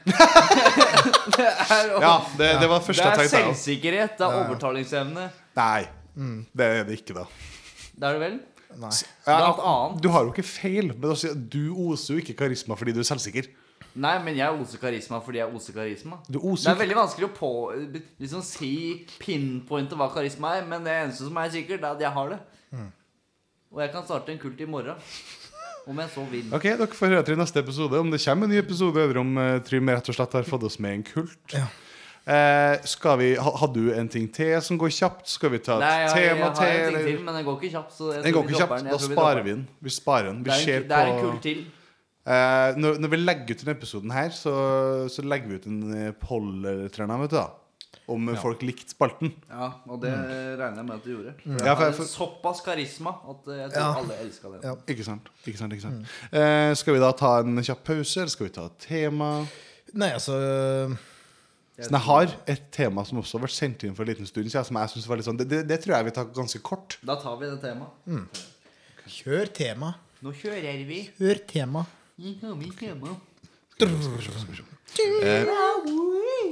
Speaker 3: det er,
Speaker 1: Ja, det, det var
Speaker 3: det
Speaker 1: første
Speaker 3: er
Speaker 1: jeg tenkte. jeg også.
Speaker 3: selvsikkerhet. Det er overtalingsevne.
Speaker 1: Nei,
Speaker 2: Mm.
Speaker 1: det er det ikke, da.
Speaker 3: Det er det vel?
Speaker 2: Nei.
Speaker 1: Ja,
Speaker 3: Blant annet.
Speaker 1: du har jo ikke feil, men altså, du oser jo ikke karisma fordi du er selvsikker.
Speaker 3: Nei, men jeg oser karisma fordi jeg oser karisma.
Speaker 1: Du
Speaker 3: Det
Speaker 1: oser
Speaker 3: er
Speaker 1: ikke
Speaker 3: veldig vanskelig å på, liksom si pinpointe hva karisma er, men det eneste som er sikkert, er at jeg har det.
Speaker 1: Mm.
Speaker 3: Og jeg kan starte en kult i morgen. Om jeg så vil.
Speaker 1: Ok, Dere får høre til i neste episode om det kommer en ny episode eller om eh, Trym rett og slett har fått oss med en kult.
Speaker 2: Ja.
Speaker 1: Eh, skal vi, ha, har du en ting til som går kjapt? Skal vi ta et
Speaker 3: Nei, jeg, jeg,
Speaker 1: tema
Speaker 3: har en ting
Speaker 1: eller?
Speaker 3: til, men den går ikke kjapt. Så jeg
Speaker 1: Den
Speaker 3: tror
Speaker 1: går
Speaker 3: vi
Speaker 1: ikke
Speaker 3: dropper
Speaker 1: kjapt.
Speaker 3: den.
Speaker 1: Da
Speaker 3: Jeg tror vi dropper
Speaker 1: sparer vi den. Vi sparer den. Vi
Speaker 3: Det er,
Speaker 1: ser
Speaker 3: en, ku- det er en
Speaker 1: på
Speaker 3: kult til.
Speaker 1: Eh, når, når vi legger ut denne episoden her, så, så legger vi ut en eh, poll eller et eller annet, vet du da. Om eh, folk likte spalten.
Speaker 3: Ja, og det regner jeg med at du gjorde. For
Speaker 1: Mm. Ja,
Speaker 3: jeg
Speaker 1: for-
Speaker 3: hadde
Speaker 1: for-
Speaker 3: såpass karisma at eh, jeg tror
Speaker 2: Ja.
Speaker 3: alle elska den.
Speaker 2: Ja.
Speaker 1: Ikke sant? Ikke sant, ikke sant. Eh, skal vi da ta en kjapp pause, eller skal vi ta et tema?
Speaker 2: Nei, altså
Speaker 1: Sånn, jeg har et tema som også har vært sendt inn for en liten stund siden. Som jeg synes var litt sånn, det, det, det tror jeg vi tar ganske kort.
Speaker 3: Da tar vi det temaet.
Speaker 2: Kjør tema.
Speaker 3: Nå kjører vi.
Speaker 2: Hør tema.
Speaker 3: Vi kommer hjemme.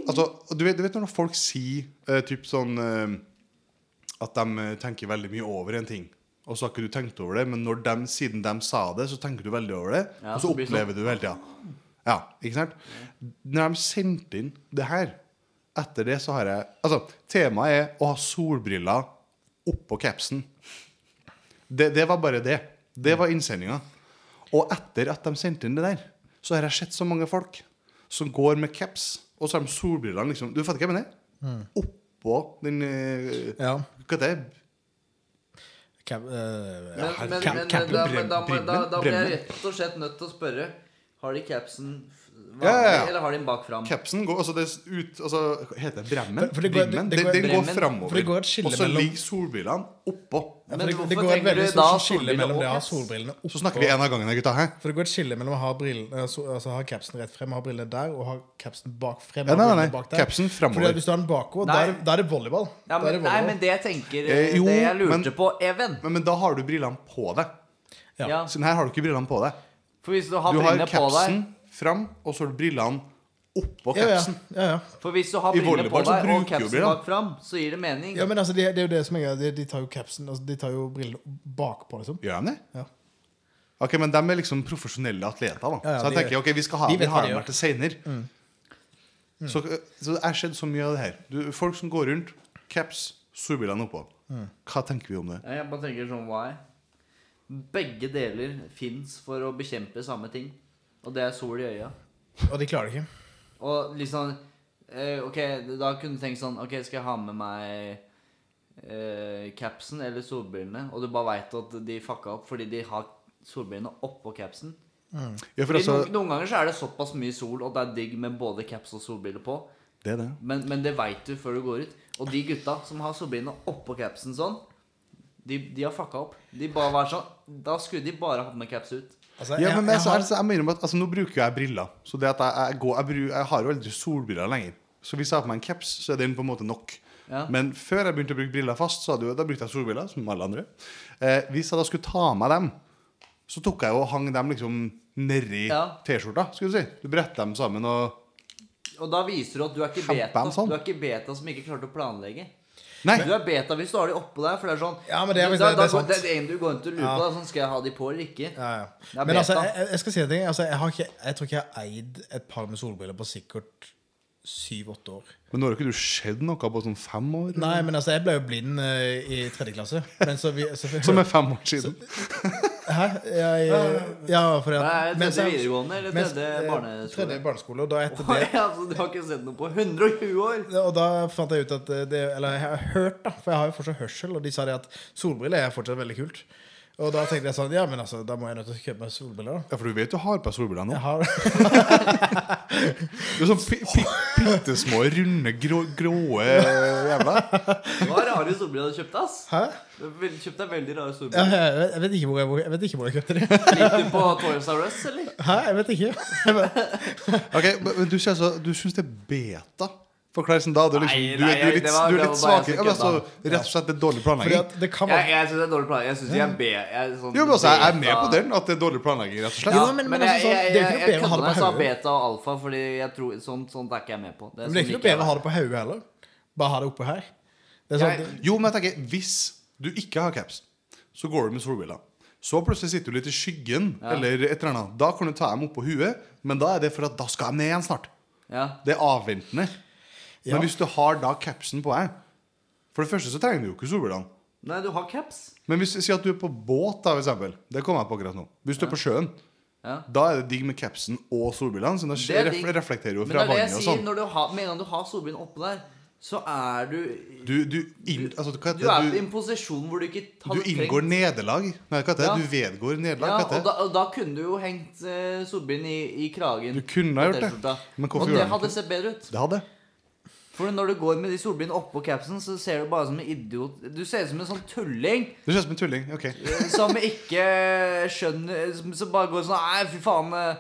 Speaker 1: Altså, du vet, du vet når folk sier eh, typ sånn eh, at de eh, tenker veldig mye over en ting, og så har ikke du tenkt over det, men når dem- siden de sa det, så tenker du veldig over det,
Speaker 3: Ja,
Speaker 1: og så
Speaker 3: så blir det sånn.
Speaker 1: opplever du det hele tida. Ja, ikke sant? Når de sendte inn det her, etter det så har jeg Altså, temaet er å ha solbriller oppå capsen. Det, det var bare det. Det var innsendinga. Og etter at de sendte inn det der, så har jeg sett så mange folk som går med caps, og så har de solbrillene liksom Du fatter hva jeg mener? Oppå den eh,
Speaker 2: Mm. Ja.
Speaker 1: Hva heter det?
Speaker 2: Cap, eh,
Speaker 3: Men,
Speaker 1: herregud.
Speaker 3: men,
Speaker 1: Cap-
Speaker 3: men,
Speaker 1: capen
Speaker 3: da, men da,
Speaker 1: brenner-
Speaker 3: da, da blir jeg
Speaker 1: brenner.
Speaker 3: rett og slett nødt til å spørre Har de capsen f- vanlig,
Speaker 1: Ja, ja, ja.
Speaker 3: eller har de den bak fram?
Speaker 1: Capsen går altså det er ut altså, hva Heter det bremmen?
Speaker 2: For- for det går-
Speaker 1: Brimmen?
Speaker 2: det- det
Speaker 1: Den-
Speaker 2: går-
Speaker 1: den går
Speaker 3: Bremmen.
Speaker 1: framover.
Speaker 2: For det går et skille
Speaker 1: og så
Speaker 2: mellom-
Speaker 1: ligger solbrillene oppå.
Speaker 2: ja,
Speaker 3: Men
Speaker 2: for det,
Speaker 3: hvorfor
Speaker 2: det går et
Speaker 3: trenger
Speaker 2: veldig
Speaker 3: du da
Speaker 2: stort skille
Speaker 3: solbriller
Speaker 2: mellom det å ha
Speaker 3: og caps?
Speaker 2: solbrillene oppå
Speaker 1: Så snakker vi en av gangene, gutta. Hæ?
Speaker 2: For det går et skille mellom å ha, brillen, eh, so- altså, ha capsen rett frem og ha brillene der, og ha capsen bak frem.
Speaker 1: Ja,
Speaker 2: og
Speaker 1: nei, nei,
Speaker 2: brillene
Speaker 1: nei. Capsen fremover.
Speaker 2: Fordi at Hvis du har den bakover, da
Speaker 3: Nei.
Speaker 2: er det- da er det volleyball. Da
Speaker 3: Ja,
Speaker 2: er
Speaker 3: men,
Speaker 2: det
Speaker 3: nei,
Speaker 2: volleyball.
Speaker 3: men det jeg tenker
Speaker 1: Eh, jo,
Speaker 3: Det jeg lurte
Speaker 1: men-
Speaker 3: på, Even
Speaker 1: Men, men da har du brillene på deg.
Speaker 2: Ja.
Speaker 3: ja.
Speaker 1: Siden her har du ikke brillene på deg.
Speaker 3: For hvis du har
Speaker 1: Du har
Speaker 3: brillene på deg
Speaker 1: capsen fram, og så har du brillene oppå
Speaker 2: ja, ja,
Speaker 1: capsen.
Speaker 2: ja, ja.
Speaker 3: For hvis du har
Speaker 1: I
Speaker 3: brillene på
Speaker 1: volleyball så
Speaker 3: deg og
Speaker 1: bruker jo
Speaker 3: capsen
Speaker 1: brillene.
Speaker 3: bak fram, så gir det mening.
Speaker 2: ja, men altså, det, det er jo det som er greia. De, de tar jo capsen altså, De tar jo brillene bakpå, liksom.
Speaker 1: Gjør de det?
Speaker 2: Ja.
Speaker 1: Ok, Men de er liksom profesjonelle atleter. da
Speaker 2: Ja, ja,
Speaker 1: Så jeg
Speaker 2: de-
Speaker 1: tenker, ok, vi skal ha
Speaker 2: de
Speaker 1: vi
Speaker 2: vet hva
Speaker 1: har
Speaker 2: de
Speaker 1: dem
Speaker 2: gjør. Mm.
Speaker 1: her til seinere. Så, så det er skjedd så mye av det her. Du, folk som går rundt, caps, solbrillene oppå.
Speaker 2: Mm.
Speaker 1: Hva tenker vi om det?
Speaker 3: Ja, Jeg bare tenker sånn Why? Begge deler fins for å bekjempe samme ting. Og det er sol i øya.
Speaker 2: Og de klarer det ikke.
Speaker 3: Og liksom eh, Ok, da kunne du tenkt sånn Ok, skal jeg ha med meg eh, capsen eller solbrillene? Og du bare veit at de fucka opp fordi de har solbrillene oppå capsen.
Speaker 1: Ja, for
Speaker 3: Fordi
Speaker 1: altså,
Speaker 3: noen, noen ganger så er det såpass mye sol, og det er digg med både caps og solbriller på.
Speaker 1: det er det.
Speaker 3: Men, men det veit du før du går ut. Og de gutta som har solbrillene oppå capsen sånn, de, de har fucka opp. De bare var sånn Da skulle de bare hatt med caps ut.
Speaker 2: Altså,
Speaker 1: Ja,
Speaker 2: jeg-
Speaker 1: men
Speaker 2: jeg
Speaker 1: jeg, så
Speaker 2: har-
Speaker 1: er det så- jeg må innrømme at altså, Nå bruker jeg briller. Så det at jeg, jeg, går, jeg, bru- jeg har jo aldri solbriller lenger. Så hvis jeg har på meg en caps, så er den på en måte nok.
Speaker 3: Ja.
Speaker 1: Men før jeg begynte å bruke briller fast, så hadde jo, da brukte jeg solbriller. som alle andre eh, Hvis jeg da skulle ta av meg dem, så tok jeg jo og hang dem liksom nedi
Speaker 3: Ja.
Speaker 1: T-skjorta. skulle Du si Du bretta dem sammen og
Speaker 3: Og da viser du at du er ikke
Speaker 1: Kjempe
Speaker 3: beta.
Speaker 1: han sånn.
Speaker 3: Du er ikke beta som ikke klarte å planlegge.
Speaker 1: Nei!
Speaker 3: Du er beta hvis du har de oppå der, for det er sånn
Speaker 2: Ja, men det er-
Speaker 3: da,
Speaker 2: det-
Speaker 3: da,
Speaker 2: det er
Speaker 3: går-
Speaker 2: sant.
Speaker 3: det er en du går rundt og lurer
Speaker 2: Ja.
Speaker 3: på. da, Sånn, skal jeg ha de på eller ikke?
Speaker 2: Ja, ja.
Speaker 3: Det er
Speaker 2: Men altså,
Speaker 3: beta.
Speaker 2: jeg, jeg- jeg skal si en ting. Altså, jeg, har ikke, jeg tror ikke jeg har eid et par med solbriller på sikkert syv-åtte år.
Speaker 1: Men nå har jo ikke du sett noe på sånn fem år?
Speaker 2: Nei, men altså, jeg ble jo blind eh, i tredje klasse. Men så vi, så vi
Speaker 1: Som er fem år siden.
Speaker 2: Hæ? Jeg, eh, ja, fordi
Speaker 3: Nei, er
Speaker 2: at
Speaker 3: det
Speaker 2: mens
Speaker 3: tredje
Speaker 2: jeg-
Speaker 3: videregående eller
Speaker 2: mens-
Speaker 3: tredje
Speaker 2: eh,
Speaker 3: barneskole?
Speaker 2: Tredje barneskole. Og da etter
Speaker 3: Oi,
Speaker 2: det
Speaker 3: altså, du har ikke sett noe på 120 år!
Speaker 2: og da fant jeg ut at eh, det, Eller jeg har hørt, da, for jeg har jo fortsatt hørsel, og de sa det at solbriller er fortsatt veldig kult. Og da tenkte jeg sånn Ja, men altså, da må jeg nødt til å kjøpe meg solbriller. da.
Speaker 1: Ja, for du vet du har på deg solbriller nå.
Speaker 2: Jeg har
Speaker 1: Du er sånn pi pi pittesmå, runde, grå, gråe jævla.
Speaker 3: Det var rare solbriller du kjøpte, ass.
Speaker 2: Hæ?
Speaker 3: Du vel- kjøpte veldig rare
Speaker 2: Ja,
Speaker 3: solbriller.
Speaker 2: jeg, vet- jeg, vet ikke hvor jeg, hvor- jeg vet ikke hvor jeg kjøpte de.
Speaker 3: Gikk du på Toys R Us, eller?
Speaker 2: Hæ? Jeg vet ikke.
Speaker 1: Ok, men men Du, sier altså- du syns det er beta? Forklar sånn da. Du, er liksom,
Speaker 3: Nei,
Speaker 1: du, er- du
Speaker 3: nei,
Speaker 1: er litt,
Speaker 3: det var-
Speaker 1: du er
Speaker 3: det
Speaker 1: litt
Speaker 3: var bare
Speaker 1: svakere.
Speaker 3: jeg
Speaker 1: Ja,
Speaker 3: som
Speaker 1: men altså, rett og slett det er dårlig
Speaker 2: Fordi
Speaker 1: planlegging.
Speaker 2: at det kan
Speaker 3: Jeg,
Speaker 2: være
Speaker 3: jeg syns det er dårlig planlegging. Jeg synes de er be... Jeg, er sånn
Speaker 1: Jo, men altså, Jeg er med
Speaker 3: beta.
Speaker 1: på den, at det er dårlig planlegging. rett og slett
Speaker 2: Ja.
Speaker 3: Ja,
Speaker 2: men-
Speaker 3: men,
Speaker 2: men
Speaker 3: jeg,
Speaker 2: altså, sånn,
Speaker 3: jeg,
Speaker 2: det er jo ikke
Speaker 3: jeg,
Speaker 2: noe
Speaker 3: jeg,
Speaker 2: bedre å ha det på
Speaker 3: kødder når jeg sa
Speaker 2: hodet.
Speaker 3: beta og alfa, Fordi jeg tror sånt, sånt er sånn ikke jeg med på.
Speaker 2: Men det er ikke noe bedre å ha det på hodet heller. Bare ha det oppå her. Det er sånn,
Speaker 3: Jeg-
Speaker 1: Jo, men jeg tenker, hvis du ikke har caps, så går du med solbriller. Så plutselig sitter du litt i skyggen, eller et eller annet. Da kan du ta dem oppå huet, men da er det for at da skal de ned igjen snart.
Speaker 3: Ja.
Speaker 1: Det er avventende.
Speaker 2: Ja.
Speaker 1: Men hvis du har da capsen på deg For det første så trenger du jo ikke solbrillene.
Speaker 3: Nei, du har caps.
Speaker 1: Men hvis si at du er på båt, da, for eksempel. Det kommer jeg på akkurat nå. Hvis du er på sjøen,
Speaker 3: Ja.
Speaker 1: da er det digg med capsen og solbrillene. Så da
Speaker 3: Det er digg.
Speaker 1: ref- reflekterer jo
Speaker 3: Men det
Speaker 1: fra
Speaker 3: er det jeg
Speaker 1: vannet og
Speaker 3: sier.
Speaker 1: sånn.
Speaker 3: Når du har, med en gang du har solbrillene oppå der, så er du
Speaker 1: Du, du, inn, altså, hva
Speaker 3: Du er
Speaker 1: heter
Speaker 3: i
Speaker 1: det?
Speaker 3: en posisjon hvor du ikke
Speaker 1: Du,
Speaker 3: hadde
Speaker 1: du inngår
Speaker 3: trengt-
Speaker 1: nederlag. Nei, hva heter det?
Speaker 3: Ja.
Speaker 1: Du vedgår nederlag.
Speaker 3: Ja,
Speaker 1: hva heter det?
Speaker 3: og da, og da kunne du jo hengt eh, solbrillen i, i kragen.
Speaker 1: Du kunne ha
Speaker 3: på
Speaker 1: gjort det,
Speaker 3: T-skjorta.
Speaker 1: men hvorfor
Speaker 3: og
Speaker 1: gjorde
Speaker 3: det
Speaker 1: du
Speaker 3: hadde sett bedre ut.
Speaker 1: Det hadde jeg.
Speaker 3: For når du går med de solbrillene oppå capsen, så ser du bare som en idiot. Du ser ut som en sånn tulling
Speaker 1: Det ser ut som en tulling. ok
Speaker 3: eh, som ikke skjønner Som, som bare går sånn Nei, fy faen. eh,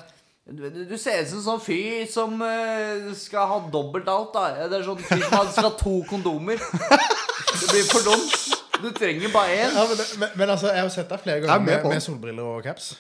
Speaker 3: Du, du- du ser ut som en sånn fyr som eh, skal ha dobbelt alt, da. Det er sånn fyr som har- skal ha to kondomer. Det blir for dumt. Du trenger bare én.
Speaker 2: ja, men, det, men, men altså, jeg har sett deg flere
Speaker 1: Jeg er
Speaker 2: ganger
Speaker 1: med
Speaker 2: med,
Speaker 1: på
Speaker 2: med
Speaker 1: den.
Speaker 2: solbriller og caps.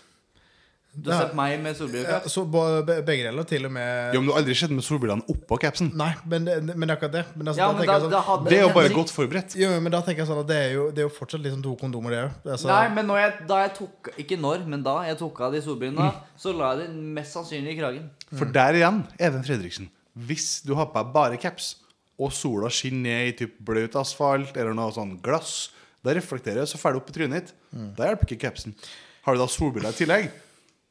Speaker 3: Du har sett meg med solbriller.
Speaker 2: Ja, så bo- be- begge deler, til og med
Speaker 1: Jo, men Du har aldri sett med solbrillene oppå capsen.
Speaker 2: Nei, men, det- men det er akkurat det. Men, altså,
Speaker 3: Ja,
Speaker 2: da
Speaker 3: men
Speaker 2: tenker
Speaker 3: da,
Speaker 2: jeg sånn,
Speaker 3: da hadde
Speaker 1: Det er jo bare
Speaker 3: hensikt.
Speaker 1: godt forberedt.
Speaker 2: Jo, men da tenker jeg sånn at det er jo, det er jo fortsatt liksom to kondomer, det òg. Altså,
Speaker 3: Nei, men når jeg, da jeg tok Ikke når, men da jeg tok av de solbrillene,
Speaker 1: Mm.
Speaker 3: så la jeg de mest sannsynlig i kragen.
Speaker 1: For der igjen, Even Fredriksen, hvis du har på deg bare caps, og sola skinner ned i typ bløt asfalt eller noe sånn glass, da reflekterer det så ferdig opp i trynet ditt.
Speaker 3: Mm.
Speaker 1: Da hjelper ikke capsen. Har du da solbriller i tillegg,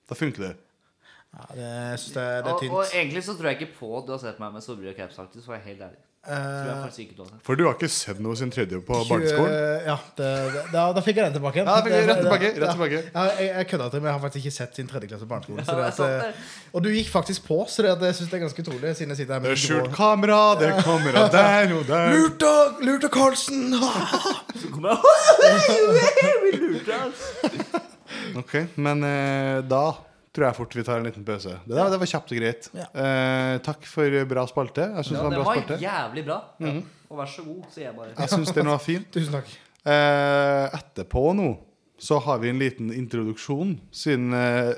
Speaker 1: da funker det.
Speaker 2: ja, det, jeg synes det, det er
Speaker 3: Og,
Speaker 2: tynt.
Speaker 3: og egentlig så tror jeg ikke på at du har sett meg med solbriller og caps, faktisk. For jeg er helt ærlig. Tror jeg
Speaker 2: Eh,
Speaker 3: faktisk ikke du har sett.
Speaker 1: For du har ikke sett noe sin tredje på
Speaker 2: tjue-
Speaker 1: barneskolen?
Speaker 2: Ja, det, det, da, da fikk jeg den tilbake.
Speaker 1: Ja, da fikk jeg rett
Speaker 2: Det- det-
Speaker 1: tilbake, rett
Speaker 2: ja.
Speaker 1: tilbake.
Speaker 2: Ja, jeg jeg kødda til, men jeg har faktisk ikke sett sin tredje klasse på barneskolen. så
Speaker 3: Ja,
Speaker 2: det
Speaker 3: det er sant,
Speaker 2: at,
Speaker 3: det.
Speaker 2: eh, og du gikk faktisk på, så det, at jeg syns det er ganske utrolig. Siden jeg sitter her
Speaker 1: Det
Speaker 2: med
Speaker 1: er
Speaker 2: grå-
Speaker 1: skjult kamera, det er kamera der og der.
Speaker 2: Lurt av lurt av Carlsen!
Speaker 3: Så kommer jeg Vi lurte deg, altså.
Speaker 1: Ok, men eh, da tror jeg fort vi tar en liten pause. Det, der, det var kjapt og greit.
Speaker 2: Ja.
Speaker 1: Eh, takk for bra spalte. Jeg syns
Speaker 3: Ja,
Speaker 1: det var
Speaker 3: den
Speaker 1: en bra Mm.
Speaker 3: var
Speaker 1: spalte.
Speaker 3: jævlig bra. Og vær så god, sier jeg bare.
Speaker 1: Jeg syns den var fin.
Speaker 2: Tusen takk.
Speaker 1: Eh, etterpå nå så har vi en liten introduksjon, siden eh,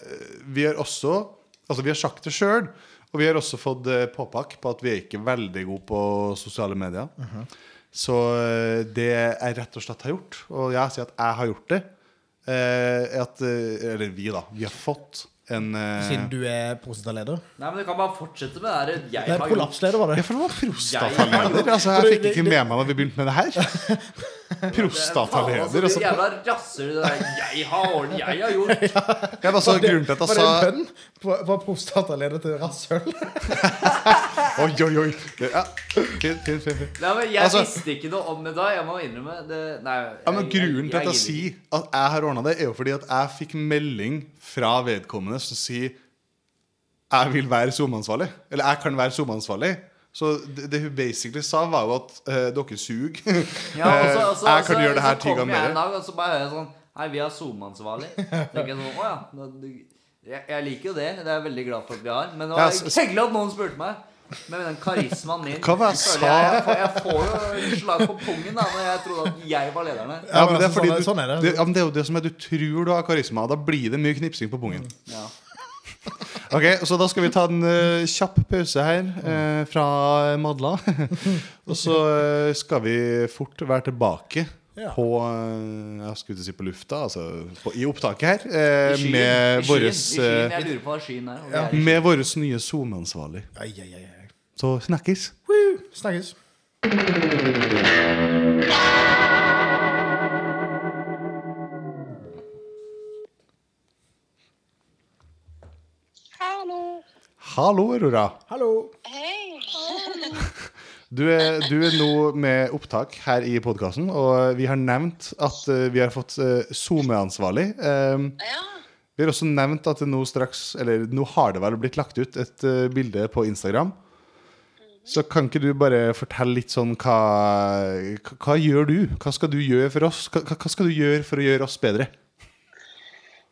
Speaker 1: vi har også Altså, vi har sagt det sjøl, og vi har også fått eh, påpakk på at vi er ikke veldig gode på sosiale medier.
Speaker 2: Mhm.
Speaker 1: Så eh, det jeg rett og slett har gjort, og jeg sier at jeg har gjort det, eh, er at eh, Eller vi, da. Vi har fått en eh,
Speaker 2: Siden du er prostataleder.
Speaker 3: Nei, men du kan bare fortsette med det der. Jeg
Speaker 2: Nei,
Speaker 3: har gjort
Speaker 2: prolapsleder, var
Speaker 1: Ja,
Speaker 2: det.
Speaker 1: for det var
Speaker 3: Jeg-
Speaker 1: prostataleder. Altså, jeg fikk ikke med meg når vi begynte med det her. Prostataleder.
Speaker 3: Altså,
Speaker 1: Altså,
Speaker 3: du jævla rasser, det der. Jeg har ordnet, jeg har gjort.
Speaker 1: jeg var så altså, grunnen til at jeg
Speaker 2: Var det en
Speaker 1: sa
Speaker 2: bønn? Fra- Fra prostataleder til rasshøl?
Speaker 1: Oi, oi, oi. Det- Ja. Fint, fint, fint. fint.
Speaker 3: Nei, men jeg
Speaker 1: Altså-
Speaker 3: visste ikke noe om det da. Jeg må innrømme det. Nei,
Speaker 1: Ja, men
Speaker 3: jeg- jeg-
Speaker 1: Grunnen til at jeg
Speaker 3: gidder ikke.
Speaker 1: sier at jeg har ordna det, er jo fordi at jeg fikk melding fra vedkommende som sier jeg vil være SoMe-ansvarlig. Eller jeg kan være SoMe-ansvarlig. Så det, det hun basically sa, var jo at eh, dere suger.
Speaker 3: Ja, og så- og så-
Speaker 1: Eh, jeg
Speaker 3: og så-
Speaker 1: kan gjøre det her
Speaker 3: så
Speaker 1: ti ganger
Speaker 3: kommer jeg en
Speaker 1: mer.
Speaker 3: dag, Og så bare hører jeg sånn Hei, vi har SoMe-ansvarlig. Tenker jeg sånn, «Å ja, da- du- Jeg, jeg liker jo det. Det er jeg veldig glad for at vi har. Men det var
Speaker 1: Ja, så-
Speaker 3: hyggelig at noen spurte meg. Men den karismaen min
Speaker 1: Hva var det jeg
Speaker 3: føler jeg, jeg, får, jeg får jo slag på pungen da Når jeg trodde at jeg var lederen her.
Speaker 1: Ja, men det er
Speaker 2: altså,
Speaker 1: fordi
Speaker 2: sånn er-
Speaker 1: du,
Speaker 2: sånn er det.
Speaker 1: det, ja, men det er jo det som er du tror du har karisma, og da blir det mye knipsing på pungen.
Speaker 3: Ja.
Speaker 1: Ok, så da skal vi ta en eh, kjapp pause her eh, fra Madla. og så eh, skal vi fort være tilbake
Speaker 2: Ja.
Speaker 1: på eh, Jeg skulle ikke si på lufta, altså på, i opptaket her. eh,
Speaker 3: I skyen. I
Speaker 1: med eh,
Speaker 3: skyen.
Speaker 1: vår
Speaker 3: I skyen. Jeg lurer på hva skyen er. om det er i skyen.
Speaker 1: med våres nye SoMe-ansvarlig.
Speaker 2: Ai, ai, ai, ai.
Speaker 1: Så snakkes.
Speaker 2: Woo! Snakkes.
Speaker 4: Hallo.
Speaker 1: Hallo, Aurora.
Speaker 2: Hallo.
Speaker 4: Hei.
Speaker 1: Du er, du er nå med opptak her i podkasten, og vi har nevnt at eh, vi har fått eh, SoMe-ansvarlig. Eh,
Speaker 4: Ja.
Speaker 1: vi har også nevnt at det nå straks Eller nå har det vel blitt lagt ut et eh, bilde på Instagram. Så kan ikke du bare fortelle litt sånn hva, hva, hva gjør du? Hva skal du gjøre for oss? Hva, hva skal du gjøre for å gjøre oss bedre?